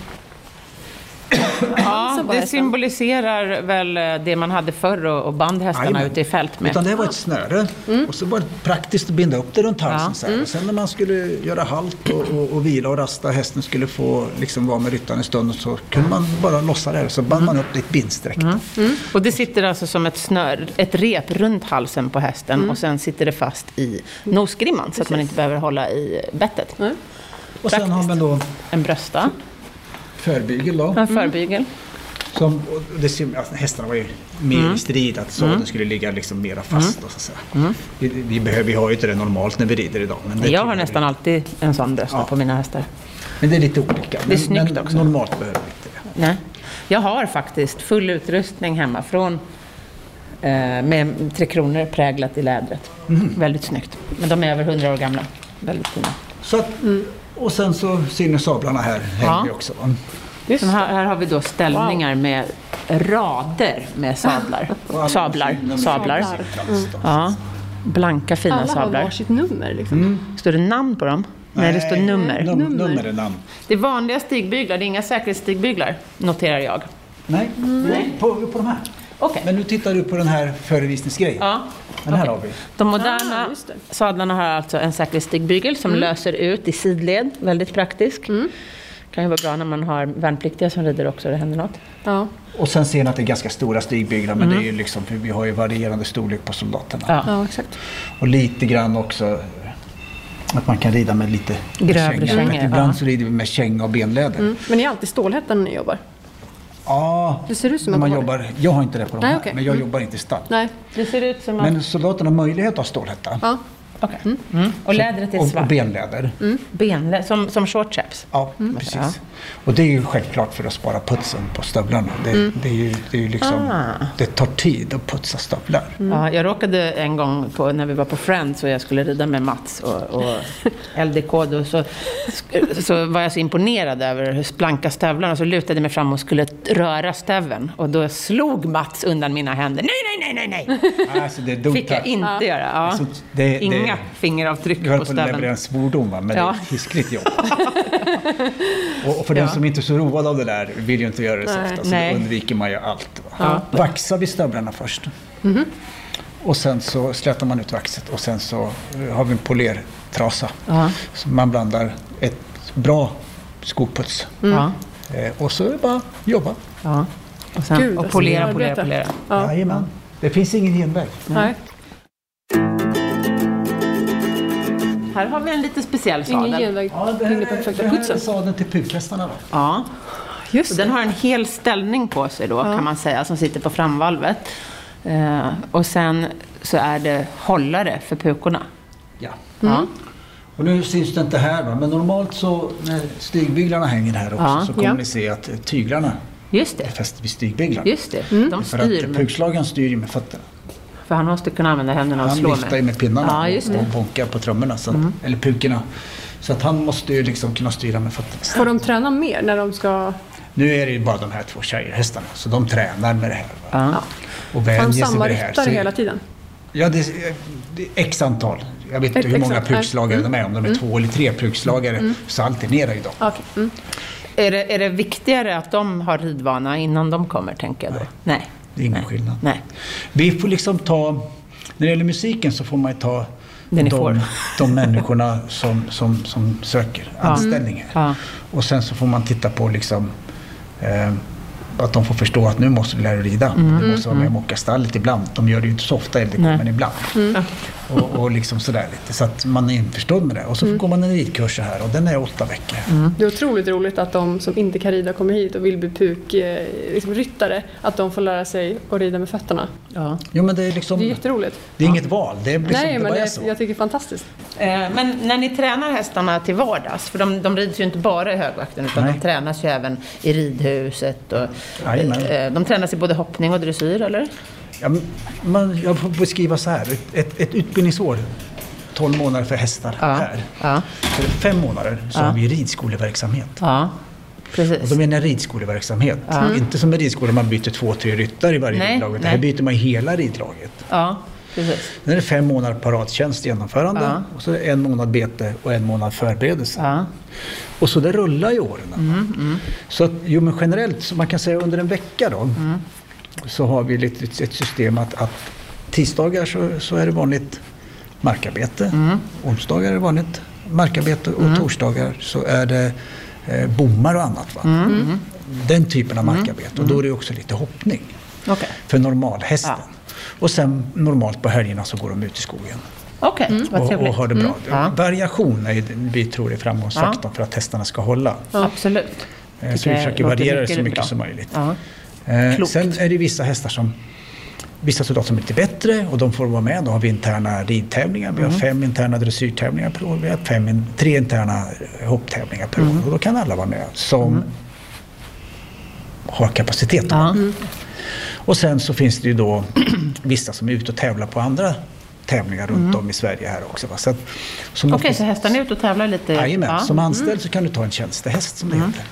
Speaker 5: halsen på
Speaker 1: det
Speaker 5: hästen.
Speaker 1: symboliserar väl eh, det man hade förr och, och band hästarna
Speaker 3: Jajamän.
Speaker 1: ute i fält
Speaker 3: Utan
Speaker 1: med. Mm.
Speaker 3: det var ett snöre och så var det praktiskt att binda upp det runt halsen.
Speaker 1: Ja. Mm.
Speaker 3: Så här. Och sen när man skulle göra halt och, och, och vila och rasta, hästen skulle få liksom, vara med ryttaren en stund så kunde man bara lossa det här och så band
Speaker 1: Mm.
Speaker 3: man upp det i ett bindsträck.
Speaker 1: Och det sitter alltså som ett snör, ett rep runt halsen på hästen och sen sitter det fast i nosgrimman så att man inte behöver hålla i bettet.
Speaker 3: Och sen har man då
Speaker 1: En brösta,
Speaker 3: förbygel då.
Speaker 1: en förbygel.
Speaker 3: Som, och det, sim- alltså, hästarna var ju mer
Speaker 1: Mm.
Speaker 3: i strid, att sadeln skulle ligga liksom mera fast. Då, så att säga. Vi, vi, behöver, vi har ju inte det normalt när vi rider idag. Men det
Speaker 1: Jag har
Speaker 3: tillhör-
Speaker 1: nästan alltid en sån brösta
Speaker 3: Ja.
Speaker 1: på mina hästar.
Speaker 3: Men det är lite olika.
Speaker 1: Det är snyggt
Speaker 3: men
Speaker 1: också.
Speaker 3: Normalt behöver vi inte det.
Speaker 1: Nej. Jag har faktiskt full utrustning hemma från eh, med Tre Kronor präglat i lädret.
Speaker 3: Mhm.
Speaker 1: Väldigt snyggt. Men de är över 100 år gamla. Väldigt fina.
Speaker 3: Så att, Och sen så synes sablarna här hänger
Speaker 1: Ja.
Speaker 3: ju också. va?
Speaker 1: Så här, här har vi då ställningar med rader med sadlar.
Speaker 3: Och alla
Speaker 1: sablar.
Speaker 3: sina-
Speaker 1: sablar.
Speaker 3: sina plats då.
Speaker 1: Ja. Blanka fina
Speaker 5: Alla har
Speaker 1: sablar.
Speaker 5: varsitt nummer liksom.
Speaker 1: Står det namn på dem? Nej, det står nummer.
Speaker 3: Num, nummer är namn.
Speaker 1: Det är vanliga stigbyglar, det är inga säkerhetssstigbyglar, noterar jag.
Speaker 3: Nej, Jo, på, på de här.
Speaker 1: Okej.
Speaker 3: Men nu tittar du på den här förevisningsgrejen.
Speaker 1: Ja.
Speaker 3: Den här
Speaker 1: okej.
Speaker 3: har vi.
Speaker 1: De moderna
Speaker 5: Ah, just det.
Speaker 1: sadlarna har alltså en säkerhetsstigbygel som löser ut i sidled. Väldigt praktisk. Kan ju vara bra när man har värnpliktiga som rider också och det händer något.
Speaker 5: Ja.
Speaker 3: Och sen ser ni att det är ganska stora stigbyglar, men det är ju liksom, för vi har ju varierande storlek på soldaterna.
Speaker 1: Mm. Ja.
Speaker 5: ja, exakt.
Speaker 3: Och lite grann också eh, att man kan rida med lite
Speaker 1: Grövre kängor,
Speaker 3: Men Ibland
Speaker 1: ja. Mm.
Speaker 3: så rider vi med känga och benläder.
Speaker 5: Men ni är alltid Stålhättan när ni jobbar?
Speaker 3: Ja,
Speaker 5: Det ser ut som
Speaker 3: när
Speaker 5: att man
Speaker 3: man
Speaker 5: har
Speaker 3: jobbar, jag har inte det på de
Speaker 5: Nej,
Speaker 3: här,
Speaker 5: okej.
Speaker 3: men
Speaker 1: Mm.
Speaker 3: jag jobbar inte i stall.
Speaker 5: Nej.
Speaker 1: Det ser ut som att...
Speaker 3: Men soldaterna har möjlighet att ha stålhätta
Speaker 5: Ja.
Speaker 1: Okej. Mm. Och lädret är
Speaker 3: och, och
Speaker 1: svart. Mm.
Speaker 3: benläder.
Speaker 1: Benlä- som, som short chaps.
Speaker 3: Ja, precis. Och det är ju självklart för att spara putsen på stövlarna. Det, det är ju, det, är ju liksom,
Speaker 1: Mm. Ah. Mm.
Speaker 3: det tar tid att putsa stövlar.
Speaker 1: Ja, jag råkade en gång på, när vi var på Friends och jag skulle rida med Mats och, [LAUGHS] och LDK då, så, så var jag så imponerad över hur blanka stövlarna så lutade jag mig fram och skulle t- röra stöveln och då slog Mats undan mina händer. Nej, nej, nej,
Speaker 3: [LAUGHS]
Speaker 1: nej, nej!
Speaker 3: Alltså, det är dumt
Speaker 1: fick jag
Speaker 3: här.
Speaker 1: inte göra. Ja.
Speaker 3: Så Alltså, det- det-
Speaker 1: Inga
Speaker 3: Vi
Speaker 1: fingeravtryck
Speaker 3: höll
Speaker 1: på
Speaker 3: på att leverera
Speaker 1: stöveln.
Speaker 3: en svordom, va? men
Speaker 1: Ja.
Speaker 3: det är ett
Speaker 1: [LAUGHS]
Speaker 3: hiskligt jobb. och, och för den som inte är så road av det där vill ju inte göra det så ofta, så
Speaker 1: Nej.
Speaker 3: då undviker man ju allt. Va? Vaxar vi stövlarna först.
Speaker 1: Mhm.
Speaker 3: Och sen så slätar man ut vaxet och sen så eh, har vi en polertrasa.
Speaker 1: Ja.
Speaker 3: Så man blandar ett bra skoputs.
Speaker 1: Ja.
Speaker 3: Eh, och så är det bara att jobba.
Speaker 1: Ja. Och, sen,
Speaker 5: Gud,
Speaker 1: och
Speaker 5: alltså,
Speaker 1: polera,
Speaker 5: det
Speaker 1: polera,
Speaker 5: arbetar.
Speaker 1: polera.
Speaker 5: Ja.
Speaker 3: Jajamän. Det finns ingen genväg.
Speaker 5: Nej.
Speaker 1: Här har vi en lite speciell
Speaker 5: Ingen
Speaker 1: sadel.
Speaker 5: genväg.
Speaker 3: Ja, det här
Speaker 5: Ingen
Speaker 3: är,
Speaker 5: perfekta
Speaker 3: det här är
Speaker 5: putsen.
Speaker 3: sadeln till pukhästarna. Då.
Speaker 1: Ja.
Speaker 5: Just
Speaker 1: Och
Speaker 5: det.
Speaker 1: den har en hel ställning på sig då, kan man säga, som sitter på framvalvet. Eh, och sen så är det hållare för pukorna.
Speaker 3: Ja.
Speaker 5: Mm.
Speaker 1: Ja.
Speaker 3: Och nu syns det inte här, va? men normalt så när stigbyglarna hänger här också
Speaker 1: Ja.
Speaker 3: så kommer
Speaker 5: Ja.
Speaker 3: ni se att eh, tyglarna
Speaker 1: Just
Speaker 3: är
Speaker 1: det,
Speaker 3: fäst vid stigbyglarna.
Speaker 1: just det.
Speaker 5: Mm.
Speaker 1: De
Speaker 3: För att
Speaker 1: styr,
Speaker 3: eh,
Speaker 1: med,
Speaker 3: pukslagaren styr ju med fötterna.
Speaker 1: för han måste kunna använda händerna och
Speaker 3: Han
Speaker 1: slå
Speaker 3: viftar ju med pinnarna
Speaker 1: Ja, just
Speaker 3: och
Speaker 1: det. Mm.
Speaker 3: bonkar på trummorna, så att, eller pukorna. Så att han måste ju liksom kunna styra med fötterna.
Speaker 5: Får de träna mer när de ska...
Speaker 3: Nu är det ju bara de här två tjejhästarna, så de tränar med det här. Va?
Speaker 1: Ja.
Speaker 3: Och
Speaker 5: Har
Speaker 3: vänjer
Speaker 5: de
Speaker 3: sig
Speaker 5: samma
Speaker 3: vid det här.
Speaker 5: ryttare hela tiden?
Speaker 3: Ja, det är, det är x antal. Jag vet inte
Speaker 5: Ett
Speaker 3: hur många
Speaker 5: exakt, nej.
Speaker 3: pukslagare de är, om
Speaker 1: Mm.
Speaker 3: de är två eller tre pukslagare, så alternerar ju de.
Speaker 5: Ja, Okej. Mm.
Speaker 1: Är det, är det viktigare att de har ridvana innan de kommer, tänker jag då? Nej.
Speaker 3: Det är ingen
Speaker 1: Nej.
Speaker 3: skillnad.
Speaker 1: Nej.
Speaker 3: Vi får liksom ta, när det gäller musiken så får man ju ta
Speaker 1: Det ni
Speaker 3: de,
Speaker 1: får.
Speaker 3: de människorna som, som, som söker anställning här.
Speaker 1: Ja.
Speaker 3: Och sen så får man titta på liksom, eh, att de får förstå att nu måste du lära dig rida. Du måste vara med och mocka stallet ibland. De gör det ju inte så ofta i LDK, men ibland.
Speaker 1: Mm.
Speaker 3: Och, och liksom sådär lite, så att man är införstådd med det. Och så går man en ridkurs så här och den är åtta veckor.
Speaker 2: Mm.
Speaker 5: Det är otroligt roligt att de som inte kan rida kommer hit och vill bli pukryttare, liksom, ryttare, att de får lära sig att rida med fötterna.
Speaker 1: Ja.
Speaker 3: Jo, men det är, liksom,
Speaker 5: Det är
Speaker 3: det
Speaker 5: jätteroligt.
Speaker 3: är inget val, det är liksom,
Speaker 5: Nej,
Speaker 3: det
Speaker 5: men
Speaker 3: bara är
Speaker 5: det,
Speaker 3: så.
Speaker 5: jag tycker det är fantastiskt.
Speaker 1: Eh, Men när ni tränar hästarna till vardags, för de, de rids ju inte bara i högvakten utan
Speaker 3: Nej.
Speaker 1: de tränas ju även i ridhuset. Och,
Speaker 3: Jajamän.
Speaker 1: eh, de tränas i både hoppning och dressyr, eller?
Speaker 3: Ja, men man, jag får beskriva så här. Ett- Ett, ett utbildningsår, 12 månader för hästar
Speaker 1: Ja.
Speaker 3: här.
Speaker 1: Ja.
Speaker 3: För fem månader så har vi ridskoleverksamhet.
Speaker 1: Ja, precis.
Speaker 3: Och då menar jag ridskoleverksamhet. Inte som en ridskola man byter två, tre ryttare i varje
Speaker 1: Mm. Nej,
Speaker 3: ridlag. utan Här
Speaker 1: nej.
Speaker 3: byter man hela ridlaget.
Speaker 1: Ja. precis.
Speaker 3: Sen är det fem månader parattjänst genomförande
Speaker 1: Ja.
Speaker 3: och så är det en månad bete och en månad förberedelse.
Speaker 1: Ja.
Speaker 3: Och så det rullar ju åren.
Speaker 1: Mm,
Speaker 3: Så att, jo, men generellt, så man kan säga under en vecka då,
Speaker 1: Mm.
Speaker 3: så har vi lite ett- ett system att, att tisdagar så, så är det vanligt markarbete,
Speaker 1: Mm.
Speaker 3: onsdagar är det vanligt markarbete och torsdagar så är det eh, bommar och annat. Va?
Speaker 1: Mm,
Speaker 3: Den typen av markarbete och då är det också lite hoppning
Speaker 1: Okej.
Speaker 3: för normalhästen.
Speaker 1: Ja.
Speaker 3: Och sen normalt på helgerna så går de ut i skogen
Speaker 1: Okej, vad
Speaker 3: och, och
Speaker 1: trevligt. Mm.
Speaker 3: har det bra.
Speaker 1: Ja.
Speaker 3: Variation är ju, det vi tror är framgångsfaktorn för att hästarna ska hålla.
Speaker 1: Absolut.
Speaker 3: Eh, Så
Speaker 1: Tycker
Speaker 3: vi
Speaker 1: jag
Speaker 3: försöker
Speaker 1: låter
Speaker 3: variera det så
Speaker 1: mycket
Speaker 3: mycket
Speaker 1: bra.
Speaker 3: som möjligt.
Speaker 1: Ja.
Speaker 3: Eh,
Speaker 1: Klokt.
Speaker 3: Sen är det vissa hästar som Vissa soldater som är lite bättre och de får vara med. Då har vi interna ridtävlingar. Vi har
Speaker 1: Mm.
Speaker 3: fem interna dressyrtävlingar per år. Vi har fem, in- tre interna eh, hopptävlingar per
Speaker 1: Mm.
Speaker 3: år. Och då kan alla vara med som har kapacitet.
Speaker 1: Ja.
Speaker 3: Och sen så finns det ju då [CLEARS THROAT] vissa som är ute och tävlar på andra tävlingar runt om i Sverige här också. Va? Så att, som
Speaker 1: Mm. Okej,
Speaker 3: oftast-
Speaker 1: så hästarna är ute och tävlar lite?
Speaker 3: Jajamän,
Speaker 1: Ja. Mm.
Speaker 3: som anställd så kan du ta en tjänstehäst som det heter.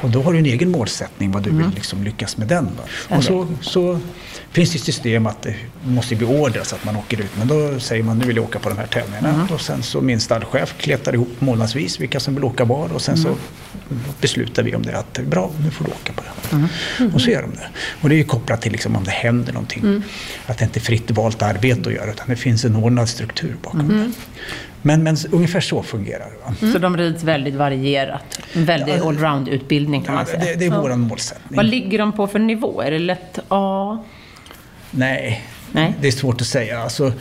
Speaker 3: Och då har du en egen målsättning vad du vill liksom lyckas med den. Va? Och så, så finns det ett system att det måste bli order så att man åker ut. Men då säger man nu vill jag åka på de här tävlingarna. Och sen så min stallchef kletar ihop månadsvis vilka som vill åka var och sen så beslutar vi om det att bra, nu får du åka på det. Och så gör de det. Och det är ju kopplat till liksom om det händer någonting. Att det inte är fritt valt arbete att göra utan det finns en ordnad struktur bakom det. Men, men s- ungefär så fungerar det. Va?
Speaker 1: Så de rids väldigt varierat. En väldigt
Speaker 3: Ja.
Speaker 1: allround-utbildning kan
Speaker 3: Ja,
Speaker 1: man säga.
Speaker 3: det, det är vår målsättning.
Speaker 1: Vad ligger de på för nivå? Är det lätt A?
Speaker 3: Nej,
Speaker 1: Nej.
Speaker 3: det är svårt att säga. Alltså,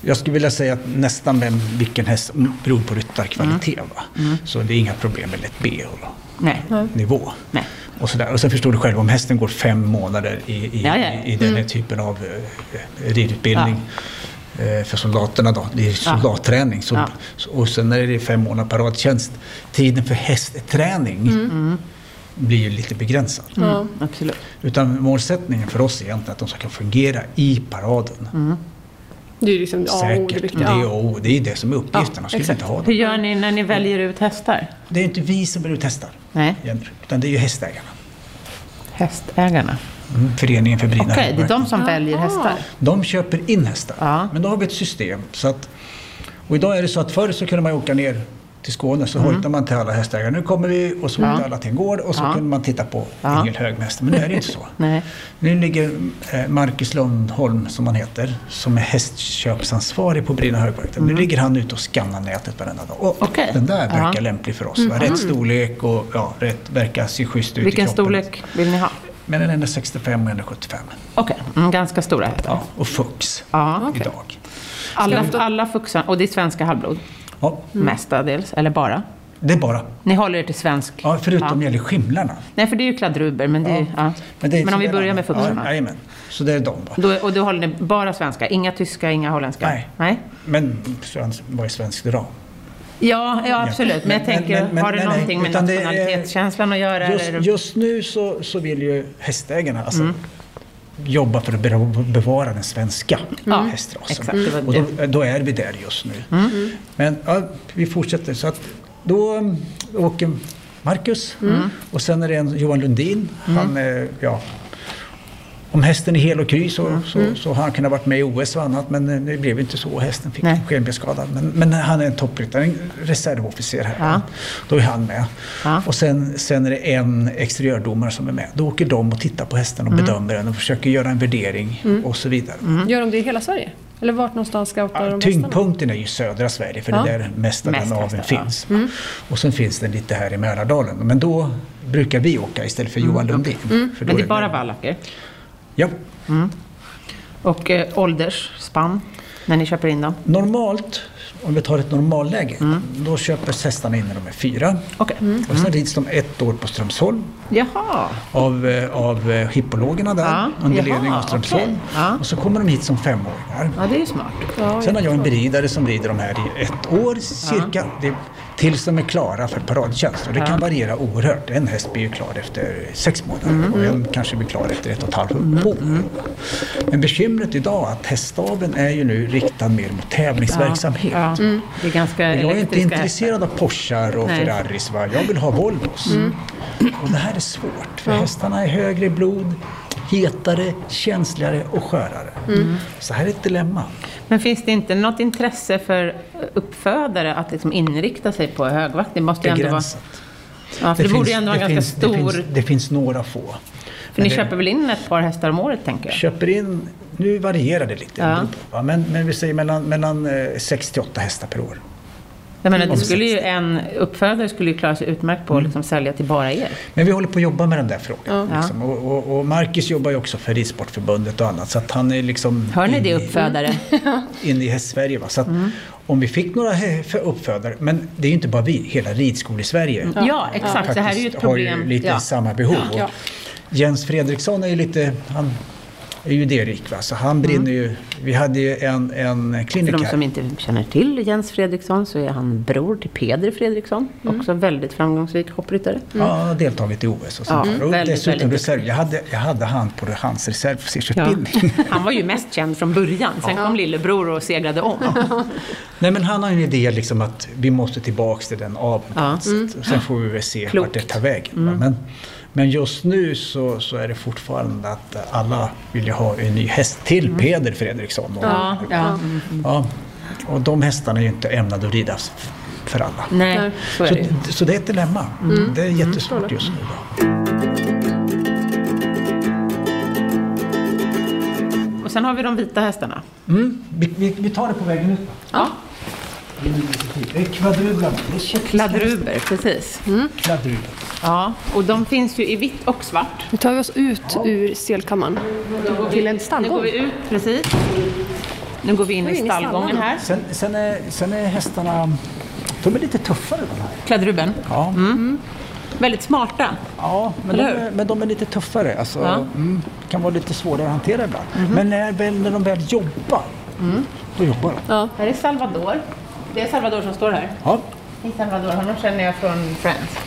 Speaker 3: jag skulle vilja säga att nästan vem, vilken häst mm, beror på ryttarkvalitet.
Speaker 1: Mm.
Speaker 3: Va? Så det är inga problem med ett B-nivå.
Speaker 1: Nej. Nej.
Speaker 3: Och, sådär. och sen förstår du själv, om hästen går fem månader i, i,
Speaker 1: Ja, ja. Mm.
Speaker 3: i, i den här typen av eh, ridutbildning eh, för soldaterna då, det är soldatträning. Så,
Speaker 1: Ja.
Speaker 3: så- Och sen när det är fem månader paradtjänst, tiden för hästträning
Speaker 1: Mm.
Speaker 3: blir ju lite begränsad.
Speaker 5: Ja.
Speaker 1: Absolut.
Speaker 3: Utan målsättningen för oss är egentligen att de ska kunna fungera i paraden.
Speaker 1: Mm.
Speaker 5: Det är ju liksom
Speaker 1: oh,
Speaker 5: A och O, det
Speaker 3: Säkert. Det
Speaker 5: viktiga.
Speaker 3: är, och, det är det som är uppgiften. de skulle inte ha
Speaker 1: Hur
Speaker 3: det.
Speaker 1: gör ni när ni väljer ut hästar?
Speaker 3: Det är inte vi som är ute och testar.
Speaker 1: Nej.
Speaker 3: egentligen, Utan det är ju hästägarna. Mm.
Speaker 1: Hästägarna.
Speaker 3: Föreningen för brina
Speaker 1: Okej, det är
Speaker 3: hästmarknaden.
Speaker 1: de som väljer hästar.
Speaker 3: De köper in hästar.
Speaker 1: Ja.
Speaker 3: Men då har vi ett system. Så att, och idag är det så att förr så kunde man ju åka ner till Skåne
Speaker 1: Mm.
Speaker 3: så hojtade man till alla hästägare. Nu kommer vi och så åkte alla till en gård och så kunde man titta på
Speaker 1: Ja.
Speaker 3: yngelhög med hästen. Men nu är det
Speaker 1: [LAUGHS]
Speaker 3: inte så.
Speaker 1: Nej.
Speaker 3: Nu ligger eh, Marcus Lundholm, som han heter, som är hästköpsansvarig på Brina Högberget. Nu ligger han ute och skannar nätet varenda dag. Och
Speaker 1: Mm. Okej.
Speaker 3: Den där verkar
Speaker 1: Ja. Mm.
Speaker 3: lämplig för oss. Va? Rätt storlek och ja, rätt, verkar se schysst ut i
Speaker 1: Vilken
Speaker 3: kroppen.
Speaker 1: storlek vill ni ha?
Speaker 3: Mellan 165 och 175.
Speaker 1: Okej, mm, ganska stora hästar.
Speaker 3: Ja, och fux
Speaker 1: Ja.
Speaker 3: idag.
Speaker 1: Alla, alla fuxar, Mm. och det är svenska halvblod,
Speaker 3: Ja,
Speaker 1: mestadels, eller bara.
Speaker 3: det är bara.
Speaker 1: Ni håller er till svensk?
Speaker 3: Ja, förutom när det gäller skimlarna.
Speaker 1: Nej, för det är ju kladruber, men, det är, ju- ja.
Speaker 3: Men,
Speaker 1: men,
Speaker 3: det är-
Speaker 1: om vi
Speaker 3: det är
Speaker 1: börjar med
Speaker 3: annat. Ja,
Speaker 1: fuxarna.
Speaker 3: jajamän. Så det är de. Va?
Speaker 1: då, och då håller ni bara svenska, inga tyska, inga holländska?
Speaker 3: Nej.
Speaker 1: Nej?
Speaker 3: Men svensk- vad är svensk ram?
Speaker 1: Ja, ja, absolut. Men jag
Speaker 3: Men-
Speaker 1: tänker,
Speaker 3: men- men-
Speaker 1: har det
Speaker 3: nej, nej,
Speaker 1: någonting med
Speaker 3: utan det är-
Speaker 1: nationalitetskänslan att göra?
Speaker 3: Just,
Speaker 1: eller?
Speaker 3: just nu så, så vill ju hästägarna alltså,
Speaker 1: Mm.
Speaker 3: jobba för att be- bevara den svenska
Speaker 1: Mm. Ja,
Speaker 3: hästrasen.
Speaker 1: exakt, det Mm. var
Speaker 3: Och då, då är vi där just nu. Men ja, vi fortsätter. Så att, då um, åker Marcus
Speaker 1: Mm.
Speaker 3: mm, och sen är det en Johan Lundin. Han, eh, ja, om hästen är hel och kry
Speaker 1: Mm.
Speaker 3: så, så, så har han kunnat varit med i OS och annat men eh, det blev inte så. Hästen fick
Speaker 1: Nej.
Speaker 3: en skenbensskada. Men, men han är en toppryttare, en reservofficer här.
Speaker 1: Ja.
Speaker 3: Då är han med.
Speaker 1: Ja.
Speaker 3: Och sen, sen är det en exteriördomare som är med. Då åker de och tittar på hästen och
Speaker 1: Mm.
Speaker 3: bedömer den och försöker göra en värdering och så vidare.
Speaker 5: Gör de det i hela Sverige? Eller vart någonstans scoutar
Speaker 3: Ja,
Speaker 5: de hästarna?
Speaker 3: Tyngdpunkten är ju södra Sverige för det är där mesta
Speaker 1: Mest
Speaker 3: den aveln
Speaker 1: hästar, ja. Mm.
Speaker 3: finns. Och sen finns den lite här i Mälardalen. Men då brukar vi åka istället för Johan Lundin. För då
Speaker 1: Mm. Men det är
Speaker 3: det-
Speaker 1: bara valacker.
Speaker 3: Ja.
Speaker 1: Och eh, åldersspann, när ni köper in dem?
Speaker 3: Normalt, om vi tar ett normalläge,
Speaker 1: Mm.
Speaker 3: då köper hästarna in när de är fyra.
Speaker 1: Okej.
Speaker 3: Och sen rids de ett år på Strömsholm
Speaker 1: eh, Jaha.
Speaker 3: av, eh, av eh, hippologerna där
Speaker 1: Ja,
Speaker 3: under
Speaker 1: jaha,
Speaker 3: ledning av Strömsholm.
Speaker 1: okej. Ja.
Speaker 3: Och så kommer de hit som femåringar.
Speaker 1: Ja, det är ju smart.
Speaker 3: Sen har jag en beridare som rider de här i ett år cirka. Det, tills de är klara för paradtjänst. Och det kan variera oerhört. En häst blir ju klar efter sex månader
Speaker 1: Mm.
Speaker 3: och en kanske blir klar efter ett och ett halvt år. Men bekymret idag är att häststaven är ju nu riktad mer mot tävlingsverksamhet.
Speaker 1: Ja, det är ganska
Speaker 3: Men Mm. Jag är inte
Speaker 1: elektriska hästar.
Speaker 3: intresserad av Porschar och
Speaker 1: Nej. Mm.
Speaker 3: Ferraris. Va? Jag vill ha Volvos. Och det här är svårt, för hästarna är högre i blod, hetare, känsligare och skörare.
Speaker 1: Mm.
Speaker 3: Så här är ett dilemma.
Speaker 1: Men finns det inte något intresse för uppfödare att liksom inrikta sig på högvakt? Det måste ju ändå vara...
Speaker 3: Begränsat.
Speaker 1: Ja, för det, borde ju ändå vara
Speaker 3: det
Speaker 1: en ganska
Speaker 3: finns,
Speaker 1: stor...
Speaker 3: Det finns, det finns några få.
Speaker 1: för ni
Speaker 3: det-
Speaker 1: köper väl in ett par hästar om året, tänker jag?
Speaker 3: Köper in, nu varierar det lite,
Speaker 1: Ja.
Speaker 3: det beror på, va? men, men vi säger mellan, mellan 6 till 8 hästar per år.
Speaker 1: Jag menar, det skulle ju en uppfödare skulle ju klara sig utmärkt
Speaker 3: Mm.
Speaker 1: på att liksom sälja till bara er.
Speaker 3: Men vi håller på att jobba med den där frågan. Liksom. Och, och, och Marcus jobbar ju också för Ridsportförbundet och annat, så att han är liksom...
Speaker 1: Hör ni det,
Speaker 3: inne i-
Speaker 1: uppfödare?
Speaker 3: Mm. [LAUGHS] in i Hästsverige. Va? Så att
Speaker 1: Mm.
Speaker 3: om vi fick några hä- för- uppfödare, men det är ju inte bara vi, hela ridskolor i Sverige
Speaker 1: Ja, exakt. Det här är ju ett
Speaker 3: faktiskt har
Speaker 1: problem.
Speaker 3: ju lite
Speaker 1: ja.
Speaker 3: samma behov.
Speaker 5: Ja.
Speaker 3: Och Jens Fredriksson är ju lite, han är ju idérik va, så han brinner ju. Vi hade ju en, en
Speaker 1: Mm. För
Speaker 3: klinik
Speaker 1: de som
Speaker 3: här.
Speaker 1: inte känner till Jens Fredriksson så är han bror till Peder Fredriksson. Också väldigt framgångsrik hoppryttare.
Speaker 3: Ja, han har deltagit i OS och sånt
Speaker 1: Mm. Ja,
Speaker 3: där. Och
Speaker 1: väldigt,
Speaker 3: dessutom
Speaker 1: väldigt
Speaker 3: reserv. Jag hade, jag hade han på hans reservofficersutbildning.
Speaker 1: Han var ju mest känd från början. Sen kom lillebror och segrade om.
Speaker 3: Nej men han har en idé liksom att vi måste tillbaks till den aveln på
Speaker 1: Ja. Mm.
Speaker 3: något sätt. Sen får vi väl se
Speaker 1: Klokt. Mm.
Speaker 3: vart det tar vägen. va. Men, men just nu så, så är det fortfarande att alla vill ju ha en ny häst till Peder Fredriksson. Och,
Speaker 1: Mm. Ja, ja.
Speaker 3: ja. och de hästarna är ju inte ämnade att ridas f- för alla.
Speaker 1: Nej, Mm. så är det ju. Mm.
Speaker 3: Så, så det är ett dilemma. Mm. Det är jättesvårt just nu. Då.
Speaker 1: Och sen har vi de vita hästarna.
Speaker 3: Mm. Vi, vi, vi tar det på vägen ut.
Speaker 1: Ja.
Speaker 3: Det är kvadrublan. Det är
Speaker 1: Kladruber, precis.
Speaker 3: Kvadrublan.
Speaker 1: Ja, och de finns ju i vitt och svart.
Speaker 5: Nu tar vi oss ut ur stelkammaren till en
Speaker 1: Nu går
Speaker 5: stallgång.
Speaker 1: vi ut, precis. Nu går vi in i
Speaker 5: in i
Speaker 1: stallgången
Speaker 5: stallarna.
Speaker 1: här.
Speaker 3: Sen, sen, är, sen är hästarna, de är lite tuffare de här.
Speaker 1: Kladruben.
Speaker 3: Ja.
Speaker 1: Väldigt smarta.
Speaker 3: Ja, men de,
Speaker 1: Eller
Speaker 3: är, men de är lite tuffare. Alltså,
Speaker 1: Ja. Mhm.
Speaker 3: mm, kan vara lite svårare att hantera ibland. Men när, väl, när de väl jobbar,
Speaker 1: Mm.
Speaker 3: då jobbar de. Ja.
Speaker 1: Här är Salvador. Det är Salvador som står här.
Speaker 3: Ja.
Speaker 1: Hej Salvador, honom känner jag från Friends.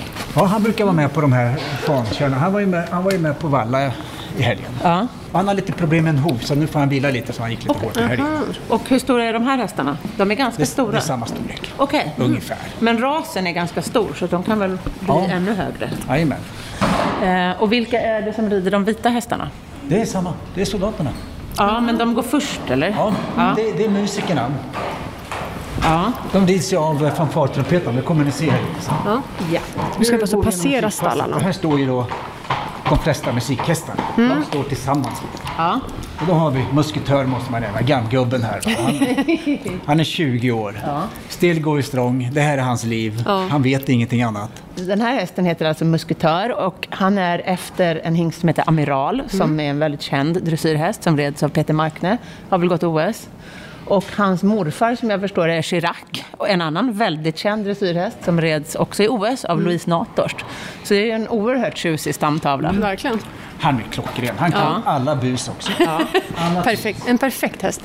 Speaker 3: han brukar vara med på de här fankörna. Han var ju med, han var ju med på Valla i helgen.
Speaker 1: Ja.
Speaker 3: Och Han har lite problem med en hov, så nu får han vila lite så han gick lite hårt i helgen.
Speaker 1: Mm. Och hur stora är de här hästarna? De är ganska
Speaker 3: Det,
Speaker 1: stora.
Speaker 3: det är samma storlek,
Speaker 1: Okej. Mm.
Speaker 3: ungefär.
Speaker 1: Men rasen är ganska stor så de kan väl bli
Speaker 3: Ja.
Speaker 1: ännu högre.
Speaker 3: Jajamän.
Speaker 1: Eh, och vilka är det som rider de vita hästarna?
Speaker 3: Det är samma, det är soldaterna.
Speaker 1: Ja, men de går först eller?
Speaker 3: Ja,
Speaker 1: Ja.
Speaker 3: Det, det är musikerna.
Speaker 1: ja.
Speaker 3: De rids ju av eh, fanfartrumpetarna, det kommer ni se här.
Speaker 1: ja.
Speaker 5: Nu ska vi
Speaker 3: Går
Speaker 5: alltså passera
Speaker 3: genom musikpasset. Och
Speaker 5: stallarna.
Speaker 3: här står ju då de flesta musikhästarna.
Speaker 1: Mm.
Speaker 3: De står tillsammans.
Speaker 1: ja.
Speaker 3: Och då har vi musketör måste man nämna, gammgubben här. va?
Speaker 1: [LAUGHS]
Speaker 3: Han, han är 20 år. Still going strong, det här är hans liv. Han vet ingenting annat.
Speaker 1: Den här hästen heter alltså Musketör och han är efter en hingst som heter Amiral
Speaker 5: Mm.
Speaker 1: som är en väldigt känd dressyrhäst som reds av Peter Markne. Har väl gått OS. Och hans morfar som jag förstår är Chirac och en annan väldigt känd dressyrhäst som reds också i OS
Speaker 5: Mm.
Speaker 1: av Louise Nathorst. Så det är ju en oerhört tjusig stamtavla.
Speaker 5: Verkligen.
Speaker 3: Han är klockren, han kan alla bus också. Alla
Speaker 5: Perfekt. En perfekt häst.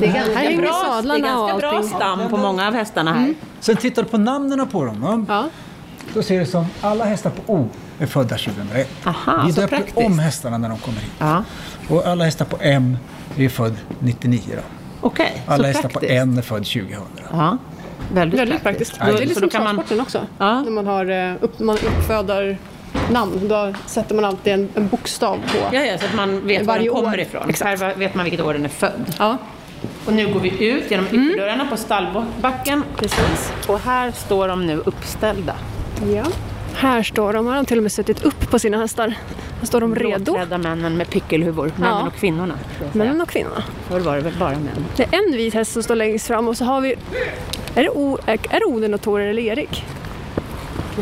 Speaker 1: Det är ganska,
Speaker 5: Här hänger
Speaker 1: bra, det är
Speaker 5: sadlarna
Speaker 1: ganska
Speaker 5: och
Speaker 1: bra
Speaker 5: allting. Mm.
Speaker 1: stam på många av hästarna här.
Speaker 3: Sen tittar du på namnen på dem. Va?
Speaker 5: Ja.
Speaker 3: Då ser du som alla hästar på O är födda 2001.
Speaker 1: Aha,
Speaker 3: Vi
Speaker 1: så
Speaker 3: döper
Speaker 1: praktiskt.
Speaker 3: om hästarna när de kommer hit.
Speaker 1: Ja.
Speaker 3: Och alla hästar på M är född 99. Då.
Speaker 1: Okej, så
Speaker 3: Alla hästar
Speaker 1: praktiskt.
Speaker 3: på N är född 2000.
Speaker 1: Ja, väldigt,
Speaker 5: Väldigt praktiskt.
Speaker 1: Då-
Speaker 5: Det är liksom
Speaker 1: så
Speaker 5: lite som
Speaker 1: då kan man-
Speaker 5: travsporten också.
Speaker 1: Ja.
Speaker 5: När man, har, eh, upp, man uppfödar namn, då sätter man alltid en, en bokstav på.
Speaker 1: Ja, ja, så att man vet var
Speaker 5: Varje
Speaker 1: den
Speaker 5: år.
Speaker 1: kommer ifrån.
Speaker 5: Exakt.
Speaker 1: Här vet man vilket år den är född.
Speaker 5: Ja,
Speaker 1: Och nu går vi ut genom ytterdörrarna på stallbacken. Precis. Och här står de nu uppställda.
Speaker 5: ja. Här står de, har de till och med suttit upp på sina hästar. Här står de redo,
Speaker 1: Blåklädda männen med pyckelhuvor. Männen
Speaker 5: Ja.
Speaker 1: och kvinnorna. ska jag säga.
Speaker 5: männen och kvinnorna.
Speaker 1: Förr var det väl bara män.
Speaker 5: Det är en vit häst som står längst fram och så har vi... Är det, o, är det Oden och Tore eller Erik?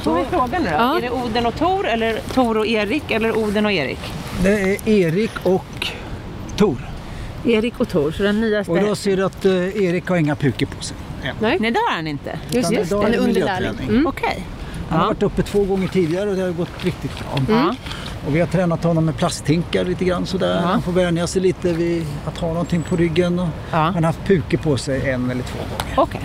Speaker 1: Då är frågan nu då.
Speaker 5: Ja.
Speaker 1: Är det Oden och Tor eller Tor och Erik eller Oden och Erik?
Speaker 3: Det är Erik och Tor.
Speaker 1: Erik och Tor, så den nyaste...
Speaker 3: Och då ser du att eh, Erik har inga pukor på sig.
Speaker 1: Nej, det har han inte.
Speaker 5: Just
Speaker 3: Utan
Speaker 5: det.
Speaker 3: idag är
Speaker 5: Den är
Speaker 3: det
Speaker 5: underlärling.
Speaker 1: Mm.
Speaker 3: miljöträning.
Speaker 1: Okej.
Speaker 3: Han har varit uppe två gånger tidigare och det har gått riktigt bra. Mm. Och vi har tränat honom med plasthinkar lite grann sådär. Han får vänja sig lite vid att ha någonting på ryggen. Och
Speaker 1: Ja.
Speaker 3: Han har haft puke på sig en eller två gånger.
Speaker 1: Okej.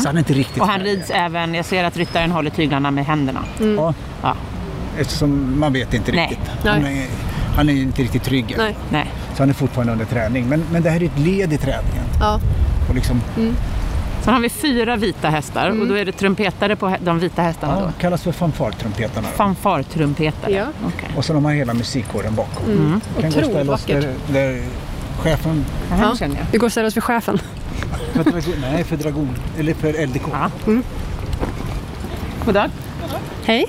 Speaker 3: Så han är inte riktigt
Speaker 1: Och han
Speaker 3: färdig.
Speaker 1: rids även, jag ser att ryttaren håller tyglarna med händerna.
Speaker 3: Ja,
Speaker 1: Ja,
Speaker 3: eftersom man vet inte
Speaker 1: Nej.
Speaker 3: riktigt. Han är, han är inte riktigt trygg. än.
Speaker 5: Nej.
Speaker 1: nej.
Speaker 3: Så han är fortfarande under träning. Men, men det här är ett led i träningen.
Speaker 5: Ja.
Speaker 3: Och liksom,
Speaker 1: Sen har vi fyra vita hästar och då är det trumpetare på hä- de vita hästarna
Speaker 3: ja,
Speaker 1: då.
Speaker 3: kallas för fanfartrumpetarna. då.
Speaker 1: Fanfartrumpetare.
Speaker 5: Ja.
Speaker 1: Okej.
Speaker 3: Och sen har man hela musikkåren bakom. Mm. Kan gå och
Speaker 5: Otroligt
Speaker 3: ställa oss
Speaker 5: vackert.
Speaker 3: där, där chefen...
Speaker 1: Det här känner jag.
Speaker 2: Vi går och ställer oss vid chefen.
Speaker 3: För dragon, nej, för dragon. Eller för LDK.
Speaker 1: Ja. God dag.
Speaker 2: Hej.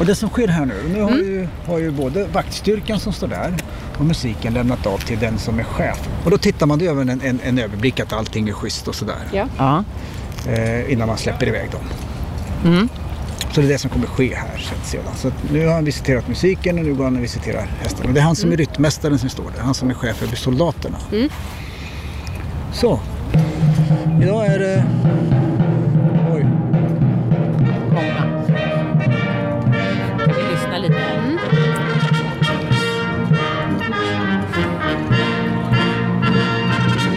Speaker 3: Och det som sker här nu, nu har, ju, har ju både vaktstyrkan som står där och musiken lämnat av till den som är chef. Och då tittar man ju över en, en, en överblick att allting är schysst och sådär.
Speaker 5: Ja.
Speaker 1: Ja.
Speaker 3: eh, innan man släpper iväg dem. Så det är det som kommer ske här sen sedan. Så att nu har han visiterat musiken och nu går han och visiterar hästarna. Det är han som är ryttmästaren som står där, han som är chef över soldaterna. Så, idag är det... Oj,
Speaker 1: Många. Vi lyssnar lite.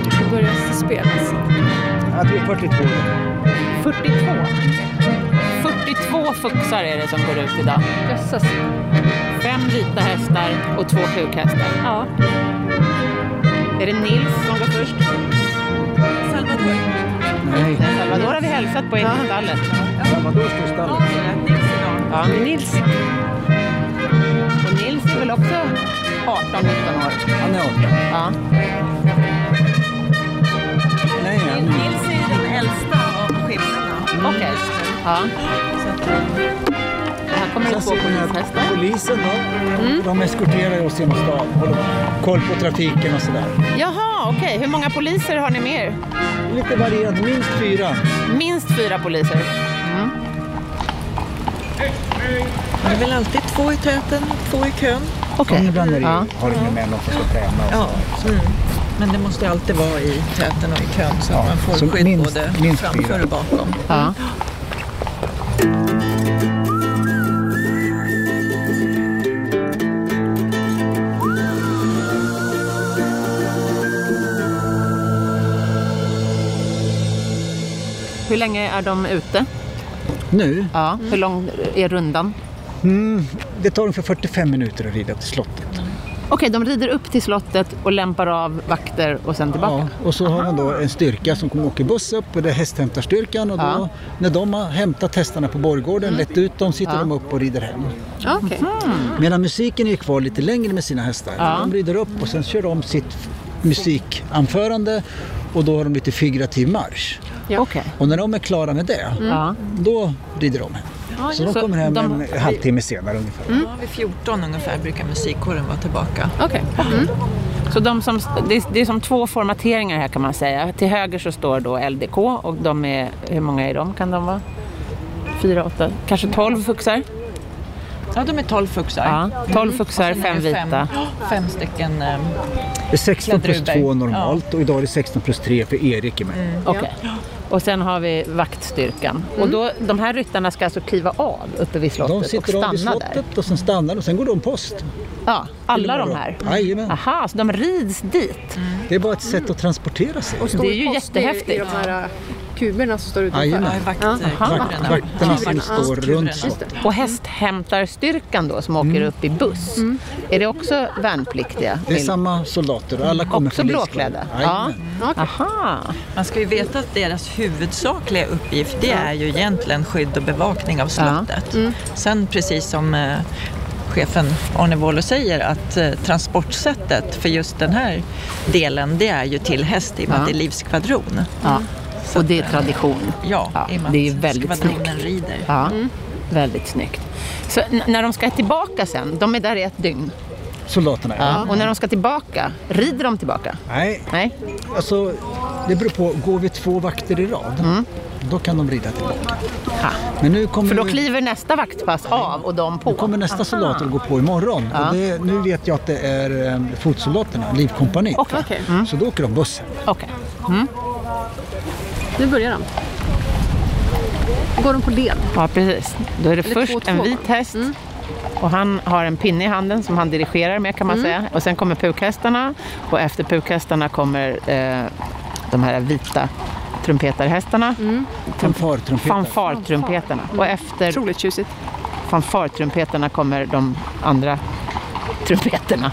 Speaker 5: Det börjar spelas.
Speaker 3: att vi är 42 år.
Speaker 1: 42. 42 fuxar är det som går ut idag.
Speaker 5: Jösses.
Speaker 1: Fem vita hästar och två pukhästar.
Speaker 5: Ja.
Speaker 1: Är det Nils som går först?
Speaker 3: Nej,
Speaker 1: Salvador har vi hälsat på innan stallet.
Speaker 3: Salvador står i stallet.
Speaker 1: Ja.
Speaker 2: Nils.
Speaker 1: Och Nils är väl också 18-19 år?
Speaker 3: Han är 18.
Speaker 1: Ja.
Speaker 3: Nej, han är
Speaker 6: Nils är den äldsta av skillnaderna.
Speaker 1: Okej. Ja. Det här kommer det
Speaker 3: Sen
Speaker 1: två
Speaker 3: ser vi den här
Speaker 1: polishästar.
Speaker 3: polisen då. De eskorterar oss genom stan. Håller koll på trafiken och sådär.
Speaker 1: Jaha, okej. Hur många poliser har ni med er?
Speaker 3: Lite varierande, minst fyra.
Speaker 1: Minst fyra poliser.
Speaker 6: Det är väl alltid två i täten, två i kön.
Speaker 1: Okej.
Speaker 3: Okay. Ibland är det,
Speaker 1: Ja.
Speaker 3: har de ju med någon som ska träna. och
Speaker 6: Ja.
Speaker 3: sådär.
Speaker 6: Mm. Men det måste alltid vara i täten och i kön så att
Speaker 3: Ja,
Speaker 6: man får
Speaker 3: så
Speaker 6: skydd
Speaker 3: minst-
Speaker 6: både
Speaker 3: minst
Speaker 6: framför
Speaker 3: fyra.
Speaker 6: och bakom.
Speaker 1: Ja. Hur länge är de ute?
Speaker 3: Nu,
Speaker 1: Ja. Hur lång är rundan?
Speaker 3: mm, det tar ungefär 45 minuter att rida till slottet.
Speaker 1: Okej, de rider upp till slottet och lämpar av vakter och sen tillbaka.
Speaker 3: Ja, och så har man då en styrka som kommer åka buss upp, och det är hästhämtarstyrkan. Och då,
Speaker 1: Ja.
Speaker 3: När de har hämtat hästarna på borggården, lett ut dem, sitter de upp och rider hem. Mm.
Speaker 5: Okej.
Speaker 3: Medan musiken är kvar lite längre med sina hästar.
Speaker 1: Ja.
Speaker 3: De rider upp och sen kör de sitt musikanförande och då har de lite figurativ marsch.
Speaker 5: Ja.
Speaker 1: Okej.
Speaker 3: Och när de är klara med det,
Speaker 1: Ja.
Speaker 3: då rider de hem. så de
Speaker 1: Mm. så
Speaker 3: kommer hem
Speaker 1: de- Mm.
Speaker 3: en halvtimme senare ungefär.
Speaker 6: Ja, vid 14 ungefär brukar musikkåren vara tillbaka.
Speaker 5: Okej.
Speaker 1: Så de som, det, är, det är som två formateringar här kan man säga. Till höger så står då LDK och de är, hur många är de? Kan de vara? Fyra, åtta, kanske tolv fuxar?
Speaker 6: Ja, de är 12 fuxar.
Speaker 1: Ja, tolv fuxar,
Speaker 6: Sen är
Speaker 1: fem
Speaker 6: det
Speaker 1: vita.
Speaker 6: Fem stycken. eh,
Speaker 3: Det är 16 plus
Speaker 6: Klädruber.
Speaker 3: 2 normalt och idag är det 16 plus 3 för Erik är med.
Speaker 1: Okej. Och sen har vi vaktstyrkan. Och då, de här ryttarna ska alltså kliva av uppe vid
Speaker 3: Mm. De
Speaker 1: slottet och
Speaker 3: sitter av
Speaker 1: stanna
Speaker 3: vid
Speaker 1: där?
Speaker 3: slottet och sen stannar de. Sen går de post.
Speaker 1: Ja, alla de här? Ah.
Speaker 3: Jajamän.
Speaker 1: Aha, så de rids dit?
Speaker 3: Det är bara ett sätt att transportera sig.
Speaker 1: Det är ju
Speaker 5: Post i- I
Speaker 1: jättehäftigt.
Speaker 5: de här eh, kuberna som står
Speaker 6: Ja,
Speaker 5: utanför.
Speaker 3: Jajamän.
Speaker 6: i vakt, vakterna.
Speaker 3: Vakterna som står runt
Speaker 6: Just
Speaker 3: slottet.
Speaker 1: Och hästhämtarstyrkan då som åker upp i buss, är det också värnpliktiga?
Speaker 3: Mm. Det är samma soldater och alla kommer
Speaker 1: Också
Speaker 3: från
Speaker 1: blåklädda? Ja.
Speaker 3: Jajamän.
Speaker 1: Aha.
Speaker 6: Man ska ju veta att deras huvudsakliga uppgift det är ju egentligen skydd och bevakning av slottet.
Speaker 1: Mm.
Speaker 6: Sen precis som eh, chefen Arne Wåhler säger att eh, transportsättet för just den här delen det är ju till häst i och med att det är livskvadron.
Speaker 1: Ja. Och det är tradition.
Speaker 6: Ja,
Speaker 1: Ja,
Speaker 6: i och med
Speaker 1: det är
Speaker 6: att
Speaker 1: väldigt
Speaker 6: skvadronen
Speaker 1: snyggt.
Speaker 6: rider.
Speaker 1: Ja. Väldigt snyggt. Så n- när de ska tillbaka sen, de är där i ett dygn.
Speaker 3: Soldaterna, ja.
Speaker 1: Och när de ska tillbaka, rider de tillbaka?
Speaker 3: Nej,
Speaker 1: Nej?
Speaker 3: alltså det beror på. Går vi två vakter i rad, då kan de rida tillbaka.
Speaker 1: Mm. Ha.
Speaker 3: Men nu kommer,
Speaker 1: För då kliver nästa vaktpass av och de
Speaker 3: nu Mm. kommer
Speaker 1: på.
Speaker 3: nästa soldat att gå på imorgon. Och det, nu vet jag att det är eh, fotsoldaterna, Livkompaniet.
Speaker 1: Okej. Mm.
Speaker 5: Okej.
Speaker 3: Så då åker de bussen.
Speaker 1: Okej.
Speaker 5: Nu börjar de.
Speaker 2: Går de på led?
Speaker 1: Ja, precis. Då är det
Speaker 2: Eller
Speaker 1: först
Speaker 2: två, två,
Speaker 1: en
Speaker 2: va?
Speaker 1: vit häst och han har en pinne i handen som han dirigerar med kan man säga. Och sen kommer pukhästarna och efter pukhästarna kommer eh, de här vita trumpetarhästarna.
Speaker 3: Fanfartrumpetar.
Speaker 1: Fanfartrumpetarna. Och efter
Speaker 2: Otroligt tjusigt.
Speaker 1: fanfartrumpetarna kommer de andra trumpeterna.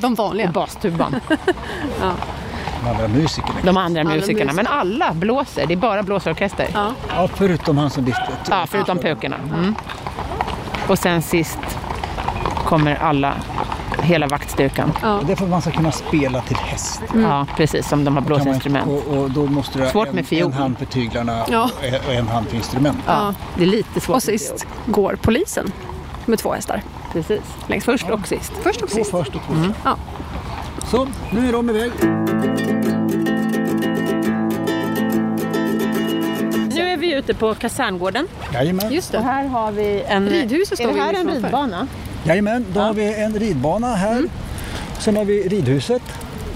Speaker 2: De vanliga.
Speaker 1: Bastuban.
Speaker 3: De andra musikerna.
Speaker 1: De
Speaker 2: [LAUGHS]
Speaker 1: andra musikerna.
Speaker 2: musiker.
Speaker 1: Men alla blåser. Det är bara blåsorkester.
Speaker 2: Ja.
Speaker 3: Ja, förutom han som visste.
Speaker 1: Ja, förutom pukorna. Mm. Och sen sist kommer alla, hela vaktstyrkan.
Speaker 3: Och Det är för att man ska kunna spela till häst.
Speaker 1: Mm. Ja, precis, som de har
Speaker 3: Kan man-
Speaker 1: blåsinstrument.
Speaker 3: Och, och då måste du ha
Speaker 1: Svårt
Speaker 3: en,
Speaker 1: med fiol.
Speaker 3: en hand för tyglarna
Speaker 2: Ja.
Speaker 3: och, en, och en hand för instrumentet.
Speaker 1: Ja, det är lite svårt.
Speaker 2: Och sist går polisen med två hästar.
Speaker 1: Precis.
Speaker 2: Längst.
Speaker 1: Först och sist.
Speaker 2: Först och
Speaker 3: Två
Speaker 2: sist.
Speaker 3: först och två
Speaker 1: Mm.
Speaker 3: sen.
Speaker 2: Ja.
Speaker 3: Så, nu är de iväg.
Speaker 1: Nu är vi ute på kaserngården.
Speaker 3: Jajamän.
Speaker 2: Just det.
Speaker 1: Här har vi en...
Speaker 2: Ridhuset står
Speaker 1: Är det
Speaker 2: vi
Speaker 1: här
Speaker 2: ju
Speaker 1: en
Speaker 2: framför.
Speaker 1: ridbana?
Speaker 3: Jajamän, då har vi en ridbana här.
Speaker 1: Mm.
Speaker 3: Sen har vi ridhuset.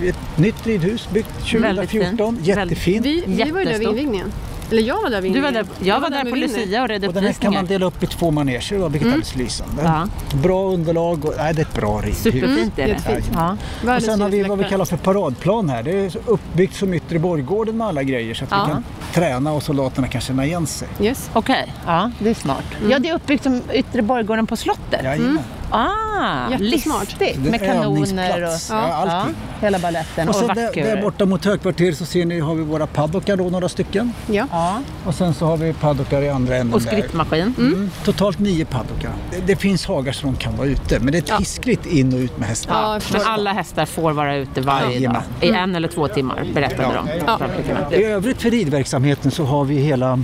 Speaker 3: Ett nytt ridhus byggt
Speaker 1: Väldigt fint.
Speaker 3: 2014. Jättefint.
Speaker 2: Vi, vi var ju där vid
Speaker 1: Jättestort.
Speaker 2: invigningen. Eller jag var där vid
Speaker 1: Du var
Speaker 2: invigningen.
Speaker 1: där, jag var
Speaker 2: med
Speaker 1: där på
Speaker 2: Winnie.
Speaker 1: Lucia och red
Speaker 3: Och den här kan man
Speaker 1: uppvisningar.
Speaker 3: dela upp i två maneger, då, vilket är alldeles lysande.
Speaker 1: Mm. Ja.
Speaker 3: Bra underlag och nej, det är ett bra ridhus.
Speaker 1: Superfint är det.
Speaker 3: Jättefint.
Speaker 1: Mm. Ja.
Speaker 3: Och
Speaker 2: Världens
Speaker 3: sen har vi vad vi
Speaker 2: ljusläktare.
Speaker 3: kallar för paradplan här. Det är så uppbyggt som yttre borggården med alla grejer så att
Speaker 2: Ja.
Speaker 3: vi kan träna och soldaterna kan känna igen sig.
Speaker 2: Yes.
Speaker 1: Okej, ja, det är smart. Ja, det är uppbyggt som yttre borggården på slottet.
Speaker 3: Jajamän.
Speaker 1: Ah,
Speaker 2: Jättesmart.
Speaker 1: listigt.
Speaker 3: Det är
Speaker 1: Med kanoner och
Speaker 3: övningsplats. Ja, allting.
Speaker 1: hela baletten
Speaker 3: Och
Speaker 1: och,
Speaker 3: sen där,
Speaker 1: vackert.
Speaker 3: där borta mot högkvarteret så ser ni har vi våra paddockar då, några stycken.
Speaker 2: Ja.
Speaker 1: Ja.
Speaker 3: Och sen så har vi paddockar i andra änden
Speaker 1: Och
Speaker 3: där.
Speaker 1: skrittmaskin.
Speaker 3: Mm. Totalt nio paddockar. Det, det finns hagar som de kan vara ute, men det är hiskligt in och ut med hästar.
Speaker 2: Ja,
Speaker 1: Men alla hästar får vara ute varje dag.
Speaker 3: Jajamän.
Speaker 1: I en eller två timmar, berättade de. Fabrikerna.
Speaker 3: I övrigt för ridverksamheten så har vi hela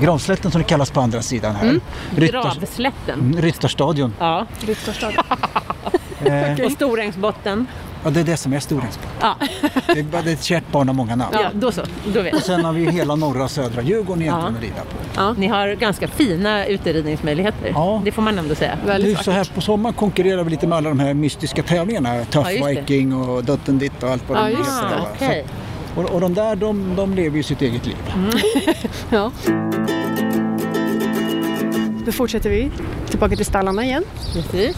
Speaker 3: Gravslätten som det kallas på andra sidan här. Ryttars,
Speaker 1: Gravslätten.
Speaker 3: Mm, Ryttarstadion.
Speaker 1: Ja.
Speaker 3: Eh,
Speaker 1: Och Storängsbotten.
Speaker 3: ja, det är det som är Storängsbo.
Speaker 1: Ja.
Speaker 3: Det är bara- det är ett kärt barn har många namn.
Speaker 1: ja, då så. Då vet jag.
Speaker 3: Sen har vi hela norra och södra Djurgården egentligen att rida på.
Speaker 1: Ni har ganska fina uteridningsmöjligheter.
Speaker 3: Ja.
Speaker 1: Det får man ändå säga.
Speaker 2: Väldigt
Speaker 3: Nu så här på sommaren konkurrerar vi lite med alla de här mystiska tävlingarna. här. Tough
Speaker 1: Ja, just det.
Speaker 3: Viking och Dutten Ditt och allt vad
Speaker 2: Ja,
Speaker 3: de
Speaker 2: just
Speaker 3: heter.
Speaker 2: det.
Speaker 3: va.
Speaker 1: Ah, okej.
Speaker 3: Så- Och, och de där, de, de lever ju sitt eget liv.
Speaker 2: Ja. Då fortsätter vi tillbaka till stallarna igen.
Speaker 1: Precis.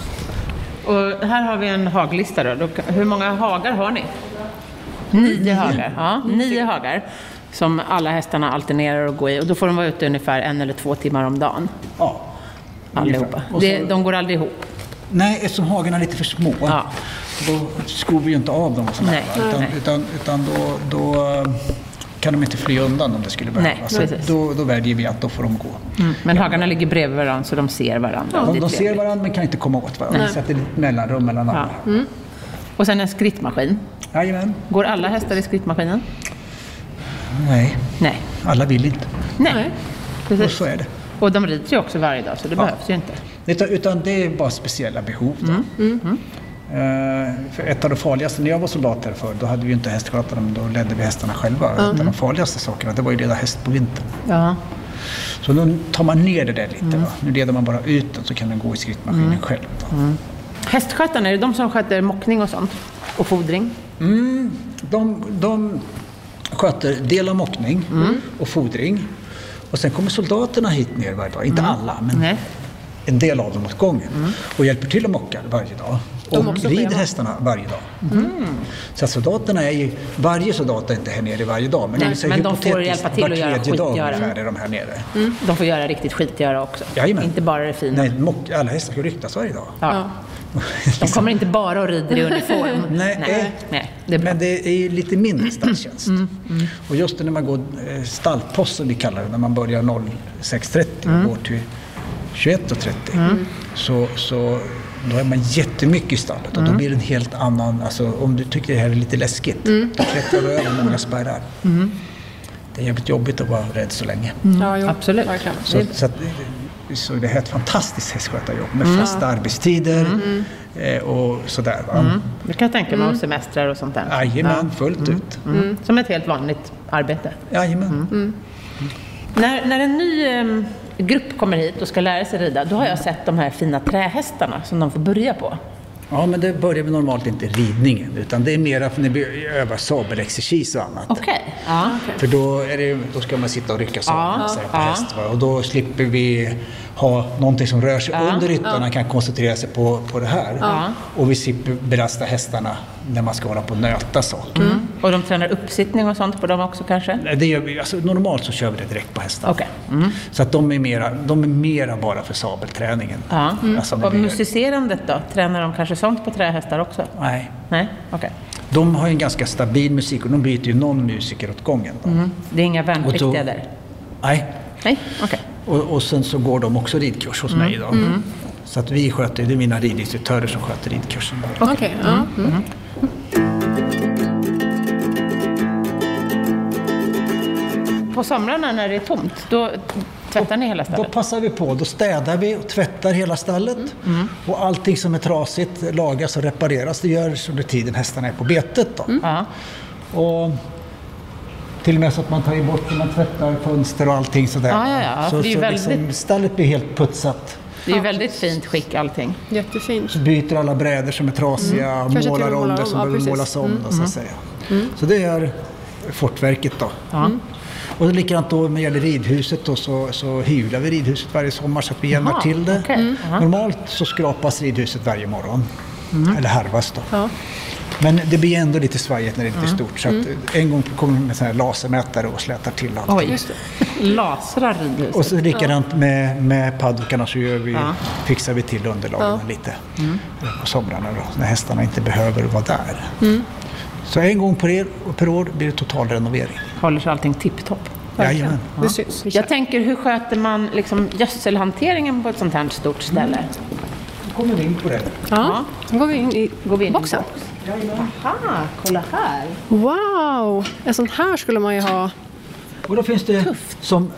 Speaker 1: Och här har vi en haglista. Då. Då, hur många hagar har ni? Nio hagar. Ja, nio hagar som alla hästarna alternerar att gå i. Och då får de vara ute ungefär en eller två timmar om dagen.
Speaker 3: Ja.
Speaker 1: Allihopa.
Speaker 3: Ungefär. Och så-
Speaker 1: Det, de går aldrig ihop.
Speaker 3: Nej, eftersom hagarna är lite för små.
Speaker 1: Ja.
Speaker 3: Då skor vi ju inte av dem och sådär,
Speaker 1: Nej,
Speaker 3: va? utan,
Speaker 1: nej.
Speaker 3: utan, utan då, då eh, kan de inte fly undan om det skulle behövas.
Speaker 1: Nej,
Speaker 3: Så
Speaker 1: precis. Mm.
Speaker 3: då, då väljer vi att då får de gå.
Speaker 1: Men hagarna ligger bredvid varandra så de ser varandra. och det
Speaker 3: De,
Speaker 1: är
Speaker 3: de ser
Speaker 1: trevligt. Mm.
Speaker 3: varandra men kan inte komma åt varandra. Så att det är ett mellanrum mellan alla.
Speaker 1: Och sen en skrittmaskin.
Speaker 3: Jajamän.
Speaker 1: Går alla hästar i skrittmaskinen?
Speaker 3: Nej,
Speaker 1: Nej.
Speaker 3: alla vill inte.
Speaker 1: Nej.
Speaker 3: Och
Speaker 1: Precis.
Speaker 3: så är det.
Speaker 1: Och de rider ju också varje dag så det behövs ju inte.
Speaker 3: Utan, utan det är bara speciella behov. Då.
Speaker 1: Mm.
Speaker 3: Eh, för ett av de farligaste, när jag var soldat där förr, då hade vi ju inte hästskötare, men då ledde vi hästarna själva.
Speaker 1: Mm.
Speaker 3: Ett av de farligaste sakerna, det var ju leda häst på vintern.
Speaker 1: Ja.
Speaker 3: Så nu tar man ner det där lite.
Speaker 1: Mm.
Speaker 3: Va? Nu leder man bara ut den så kan den gå i skrittmaskinen själv. Då.
Speaker 1: Hästskötarna, är det de som sköter mockning och sånt? Och fodring?
Speaker 3: De, de sköter del av mockning
Speaker 1: Mm.
Speaker 3: och fodring. Och sen kommer soldaterna hit ner varje dag. Inte alla, men
Speaker 1: Mm. Nej. Mm.
Speaker 3: en del av dem åt gången. Och hjälper till att mocka varje dag. Och rider hästarna varje dag.
Speaker 1: Mm.
Speaker 3: Så att soldaterna är ju... Varje soldat är inte här nere varje dag. Men,
Speaker 1: Nej,
Speaker 3: det vill säga
Speaker 1: men de får
Speaker 3: hypotetiskt
Speaker 1: hjälpa till
Speaker 3: var
Speaker 1: att göra
Speaker 3: tredje dag
Speaker 1: skitgöra.
Speaker 3: ungefär är de här nere.
Speaker 1: De får göra riktigt skitgöra också.
Speaker 3: Jajamän.
Speaker 1: Inte bara det fina.
Speaker 3: Nej, mock, alla hästar ska ryktas varje dag.
Speaker 1: Ja. De kommer inte bara och rider i uniform.
Speaker 3: [LAUGHS] Nej.
Speaker 1: Nej. Nej. Det är bra. Mm,
Speaker 3: Men det är ju lite mindre stalltjänst. Och just när man går eh, stallpost som vi kallar det, när man börjar 06.30
Speaker 1: Mm.
Speaker 3: och går till 21.30 så, så då är man jättemycket i stallet och
Speaker 1: Mm.
Speaker 3: då blir det en helt annan, alltså om du tycker det här är lite läskigt,
Speaker 1: Mm.
Speaker 3: då klättrar du över många spärrar. Det är jävligt jobbigt att vara rädd så länge.
Speaker 1: Mm.
Speaker 5: Ja, jo,
Speaker 1: Absolut.
Speaker 5: verkligen.
Speaker 3: Så, så, att, eh, så det här är ett fantastiskt hästskötarjobb med
Speaker 1: Mm.
Speaker 3: fasta arbetstider eh, och sådär. Va?
Speaker 1: Det kan jag tänka mig. Och semestrar och sånt där.
Speaker 3: Jajamän, fullt ut.
Speaker 1: Ja. Mm. Mm. Som ett helt vanligt arbete.
Speaker 3: Jajamän.
Speaker 1: När, när en ny em, grupp kommer hit och ska lära sig rida, då har jag sett de här fina trähästarna som de får börja på.
Speaker 3: Ja, men det börjar vi normalt inte ridningen, utan det är mera när vi övar sabelexercis och annat.
Speaker 1: Okej. Ja.
Speaker 3: För då, är det, då ska man sitta och rycka sabeln så här på häst. Va? Och då slipper vi ha någonting som rör sig under ryttarna, kan koncentrera sig på, på det här. Och vi slipper belasta hästarna när man ska hålla på och nöta saker.
Speaker 1: Mm. Och de tränar uppsittning och sånt på dem också kanske?
Speaker 3: Nej, Det gör vi, alltså, normalt så kör vi det direkt på hästarna.
Speaker 1: Okej. Mm.
Speaker 3: Så att de är, mera, de är mera bara för sabelträningen.
Speaker 1: Ja. Mm.
Speaker 3: Alltså, när
Speaker 1: Och
Speaker 3: vi-
Speaker 1: musicerandet då? Tränar de kanske sånt på trähästar också?
Speaker 3: Nej,
Speaker 1: Nej, okej.
Speaker 3: De har ju en ganska stabil musik och de byter ju någon musiker åt gången. Då.
Speaker 1: Mm. Det är inga
Speaker 3: Och då-
Speaker 1: värnpliktiga där?
Speaker 3: Nej.
Speaker 1: Nej, okej.
Speaker 3: Och, och sen så går de också ridkurs hos mig
Speaker 1: Mm.
Speaker 3: idag. Så att vi sköter, det är mina ridinstruktörer som sköter ridkursen.
Speaker 5: Okej, ja.
Speaker 1: Mm. På somrarna när det är tomt, då tvättar ni hela
Speaker 3: Då
Speaker 1: stället?
Speaker 3: passar vi på, då städar vi och tvättar hela stallet.
Speaker 1: Mm.
Speaker 3: Och allting som är trasigt lagas och repareras. Det görs under tiden hästarna är på betet. Då.
Speaker 1: Ja.
Speaker 3: Och till och med så att man tar bort, man tvättar fönster och allting sådär.
Speaker 1: Ja, ja, ja.
Speaker 3: Så,
Speaker 1: För det är ju
Speaker 3: så liksom,
Speaker 1: väldigt-
Speaker 3: stallet blir helt putsat.
Speaker 1: Det är ju väldigt fint skick allting.
Speaker 5: jättefint.
Speaker 3: Så byter alla brädor som är trasiga,
Speaker 5: Mm. Kanske till och
Speaker 3: målar
Speaker 5: med
Speaker 3: om
Speaker 5: målar
Speaker 3: det
Speaker 5: om,
Speaker 3: som
Speaker 5: ja,
Speaker 3: behöver
Speaker 5: precis. Mm.
Speaker 3: målas om. Då, så, att säga. så det är fortverket då. Mm. Och likadant då när det gäller ridhuset då, så, så hyvlar vi ridhuset varje sommar så att vi jämnar
Speaker 1: Jaha,
Speaker 3: till det.
Speaker 1: okej. Mm. Jaha.
Speaker 3: Normalt så skrapas ridhuset varje morgon.
Speaker 5: Mm.
Speaker 3: Eller harvas då. Men det blir ändå lite svajigt när det är
Speaker 5: Mm.
Speaker 3: lite stort. Så att en gång kommer vi med sån här lasermätare och slätar till allt.
Speaker 1: Oj, lasrar ridhuset.
Speaker 3: Och så likadant med, med paddockarna så gör vi, fixar vi till underlagen lite på somrarna då, när hästarna inte behöver vara där. Så en gång per, er- per år blir det total renovering.
Speaker 1: Håller sig allting tipptopp?
Speaker 3: Jajamän.
Speaker 5: Det syns.
Speaker 1: Jag tänker, hur sköter man liksom gödselhanteringen på ett sånt här stort ställe?
Speaker 3: Då kommer vi in på det.
Speaker 1: Ja.
Speaker 5: Sen går vi in i
Speaker 1: Går vi in i
Speaker 5: boxen.
Speaker 1: box? Aha, kolla här!
Speaker 5: Wow! En sån här skulle man ju ha.
Speaker 3: Och då finns det som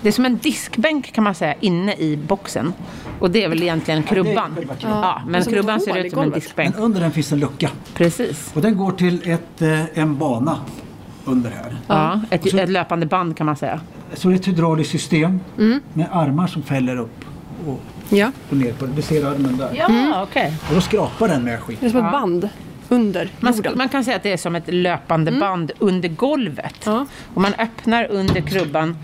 Speaker 1: Det är som en diskbänk kan man säga, inne i boxen. Och det är väl egentligen krubban?
Speaker 3: själva krubban.
Speaker 1: Ja, men
Speaker 5: som ett
Speaker 1: krubban ser
Speaker 5: hål i
Speaker 1: ut som en
Speaker 5: golvet.
Speaker 1: diskbänk.
Speaker 3: men under den finns en lucka.
Speaker 1: Precis.
Speaker 3: Och den går till ett, eh, en bana under här.
Speaker 1: Ja, ett, ett löpande band kan man säga.
Speaker 3: Så det är ett hydrauliskt system med armar som fäller upp och,
Speaker 5: Ja,
Speaker 3: och ner. På, du ser armen där.
Speaker 1: Ja, okej.
Speaker 3: Och då skrapar den med skit.
Speaker 5: det är som ett band under
Speaker 1: Man,
Speaker 5: jorden. Mm.
Speaker 1: sk- man kan säga att det är som ett löpande band under golvet.
Speaker 5: Ja.
Speaker 1: Och man öppnar under krubban,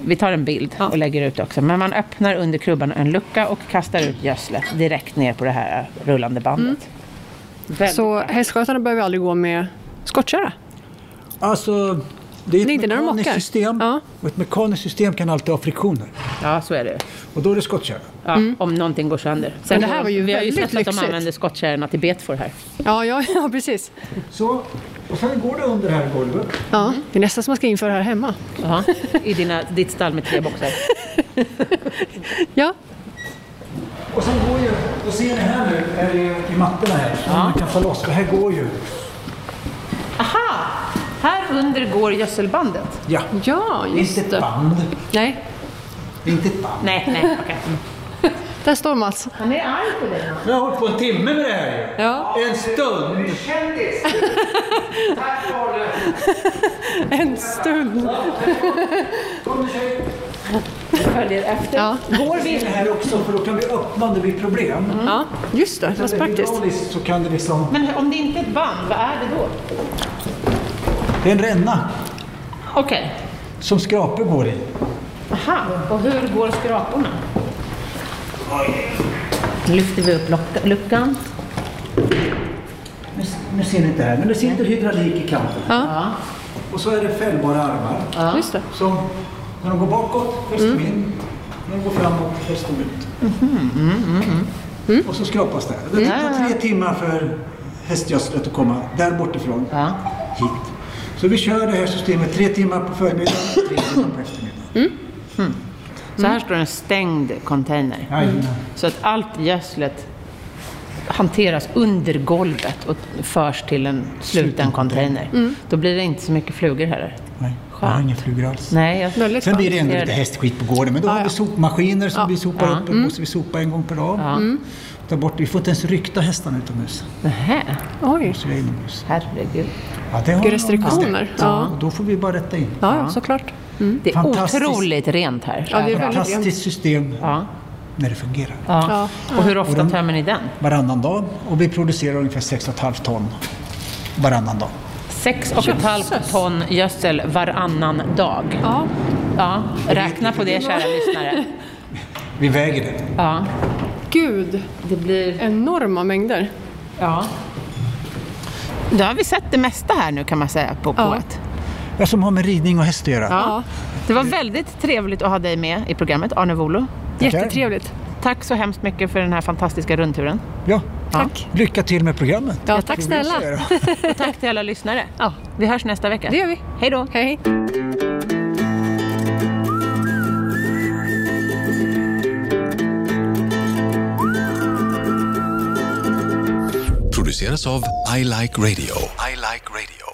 Speaker 1: vi tar en bild och lägger ut också, men man öppnar under krubban en lucka och kastar ut gödslet direkt ner på det här rullande bandet. Väldigt
Speaker 5: Mm. Så hästskötarna behöver aldrig gå med skottkärra.
Speaker 3: Alltså, det är ett
Speaker 5: Det är inte när de
Speaker 3: mekaniskt
Speaker 5: åker.
Speaker 3: system
Speaker 5: Ja.
Speaker 3: och ett mekaniskt system kan alltid ha friktioner.
Speaker 1: Ja, så är det.
Speaker 3: Och då är det skottkärra.
Speaker 1: Ja, Om någonting går sönder. Sen
Speaker 5: Mm. Men det här
Speaker 1: går-
Speaker 5: var ju
Speaker 1: vi har ju sett
Speaker 5: väldigt
Speaker 1: att de
Speaker 5: lyxigt.
Speaker 1: använder skottkärrorna till betfor här.
Speaker 5: Ja, ja, [LAUGHS] ja precis.
Speaker 3: Så, och sen går det under det här golvet.
Speaker 5: Ja, det är nästan som man ska införa här hemma.
Speaker 1: Jaha. I dina, ditt stall med tre boxar.
Speaker 5: Ja,
Speaker 3: Och sen går ju, och ser ni här nu, är det ju i mattorna här, så man kan ta loss. Det här går ju.
Speaker 1: Aha! Här under går gödselbandet.
Speaker 3: Ja.
Speaker 5: ja
Speaker 3: Det är inte
Speaker 5: just
Speaker 3: ett
Speaker 5: det.
Speaker 3: band.
Speaker 5: Nej,
Speaker 3: Det är inte ett band.
Speaker 1: Nej, nej, okej.
Speaker 5: där står Mats.
Speaker 1: Han är arg på dig.
Speaker 3: Jag har hållit på en timme med det här ju.
Speaker 5: Ja,
Speaker 3: En stund.
Speaker 5: en stund.
Speaker 1: Följer efter.
Speaker 5: Ja,
Speaker 3: Går vi in här också för då kan vi öppna om det blir problem.
Speaker 5: Mm. ja just det.
Speaker 3: Om det
Speaker 5: Vad
Speaker 3: är
Speaker 5: praktiskt.
Speaker 3: hydrauliskt så kan det liksom...
Speaker 1: Men om det inte är ett band, vad är det då?
Speaker 3: Det är en ränna
Speaker 1: Okej.
Speaker 3: som skrapor går i.
Speaker 1: Aha, och hur går skraporna? Nu lyfter vi upp locka- luckan.
Speaker 3: Nu, nu ser ni inte här, men det sitter hydraulik i kanten.
Speaker 1: Ja.
Speaker 3: Och så är det fällbara armar.
Speaker 5: Just det. Mm.
Speaker 3: Så när de går bakåt fäster de in, när de går framåt fäster de ut.
Speaker 5: Mm-hmm.
Speaker 3: Och så skrapas det. Det tar tre timmar för hästgödslet att komma där bortifrån
Speaker 1: Ja.
Speaker 3: hit. Så vi kör det här systemet tre timmar på förmiddagen, tre timmar på eftermiddagen.
Speaker 1: Mm. Så här står en stängd container.
Speaker 3: Jajamän.
Speaker 1: Så att allt gödslet hanteras under golvet och förs till en sluten container. Då blir det inte så mycket flugor heller.
Speaker 3: Nej, jag har
Speaker 1: Skönt.
Speaker 3: inga flugor alls.
Speaker 1: Nej, jag...
Speaker 5: Väldigt
Speaker 3: Sen blir det ändå
Speaker 1: Liksom. Ser
Speaker 3: lite
Speaker 1: det.
Speaker 3: hästskit på gården, men då har vi sopmaskiner som vi sopar
Speaker 1: Ja. Mm.
Speaker 3: upp. Då måste vi sopa en gång per dag. Ta bort, vi får inte ens rykta hästarna utomhus.
Speaker 1: Nähä,
Speaker 5: Oj,
Speaker 3: Så vi är inomhus.
Speaker 1: herregud.
Speaker 3: Ja, det har
Speaker 5: vilka
Speaker 3: de
Speaker 5: restriktioner.
Speaker 3: bestämt.
Speaker 5: Ja,
Speaker 3: Och då får vi bara rätta in.
Speaker 5: ja såklart.
Speaker 1: Det är
Speaker 3: Fantastiskt.
Speaker 1: otroligt rent här.
Speaker 5: Ja, det är väldigt rent.
Speaker 3: Fantastiskt system.
Speaker 1: Ja.
Speaker 3: när det fungerar.
Speaker 1: Ja. Och hur ofta tömmer ni den?
Speaker 3: Varannan dag och vi producerar ungefär 6,5 ton varannan dag.
Speaker 1: Sex och ett halvt ton gödsel varannan dag.
Speaker 2: Ja.
Speaker 1: Ja, räkna på det kära lyssnare.
Speaker 3: Vi väger det.
Speaker 1: Ja,
Speaker 5: Gud,
Speaker 1: det blir...
Speaker 5: enorma mängder.
Speaker 1: Ja. Då har vi sett det mesta här nu kan man säga på
Speaker 2: Ja.
Speaker 1: Pået.
Speaker 3: Jag som har med ridning och häst att göra.
Speaker 1: Ja. Det var väldigt trevligt att ha dig med i programmet, Arne Volo.
Speaker 2: Jättetrevligt.
Speaker 1: Tack så hemskt mycket för den här fantastiska rundturen.
Speaker 3: Ja.
Speaker 2: Tack.
Speaker 3: Lycka till med programmet.
Speaker 2: Ja, tack snälla.
Speaker 1: Och tack till alla lyssnare.
Speaker 2: Ja.
Speaker 1: Vi hörs nästa vecka.
Speaker 2: Det gör vi.
Speaker 1: Hej då!
Speaker 2: Hej.
Speaker 7: Produceras av I Like Radio. I like radio.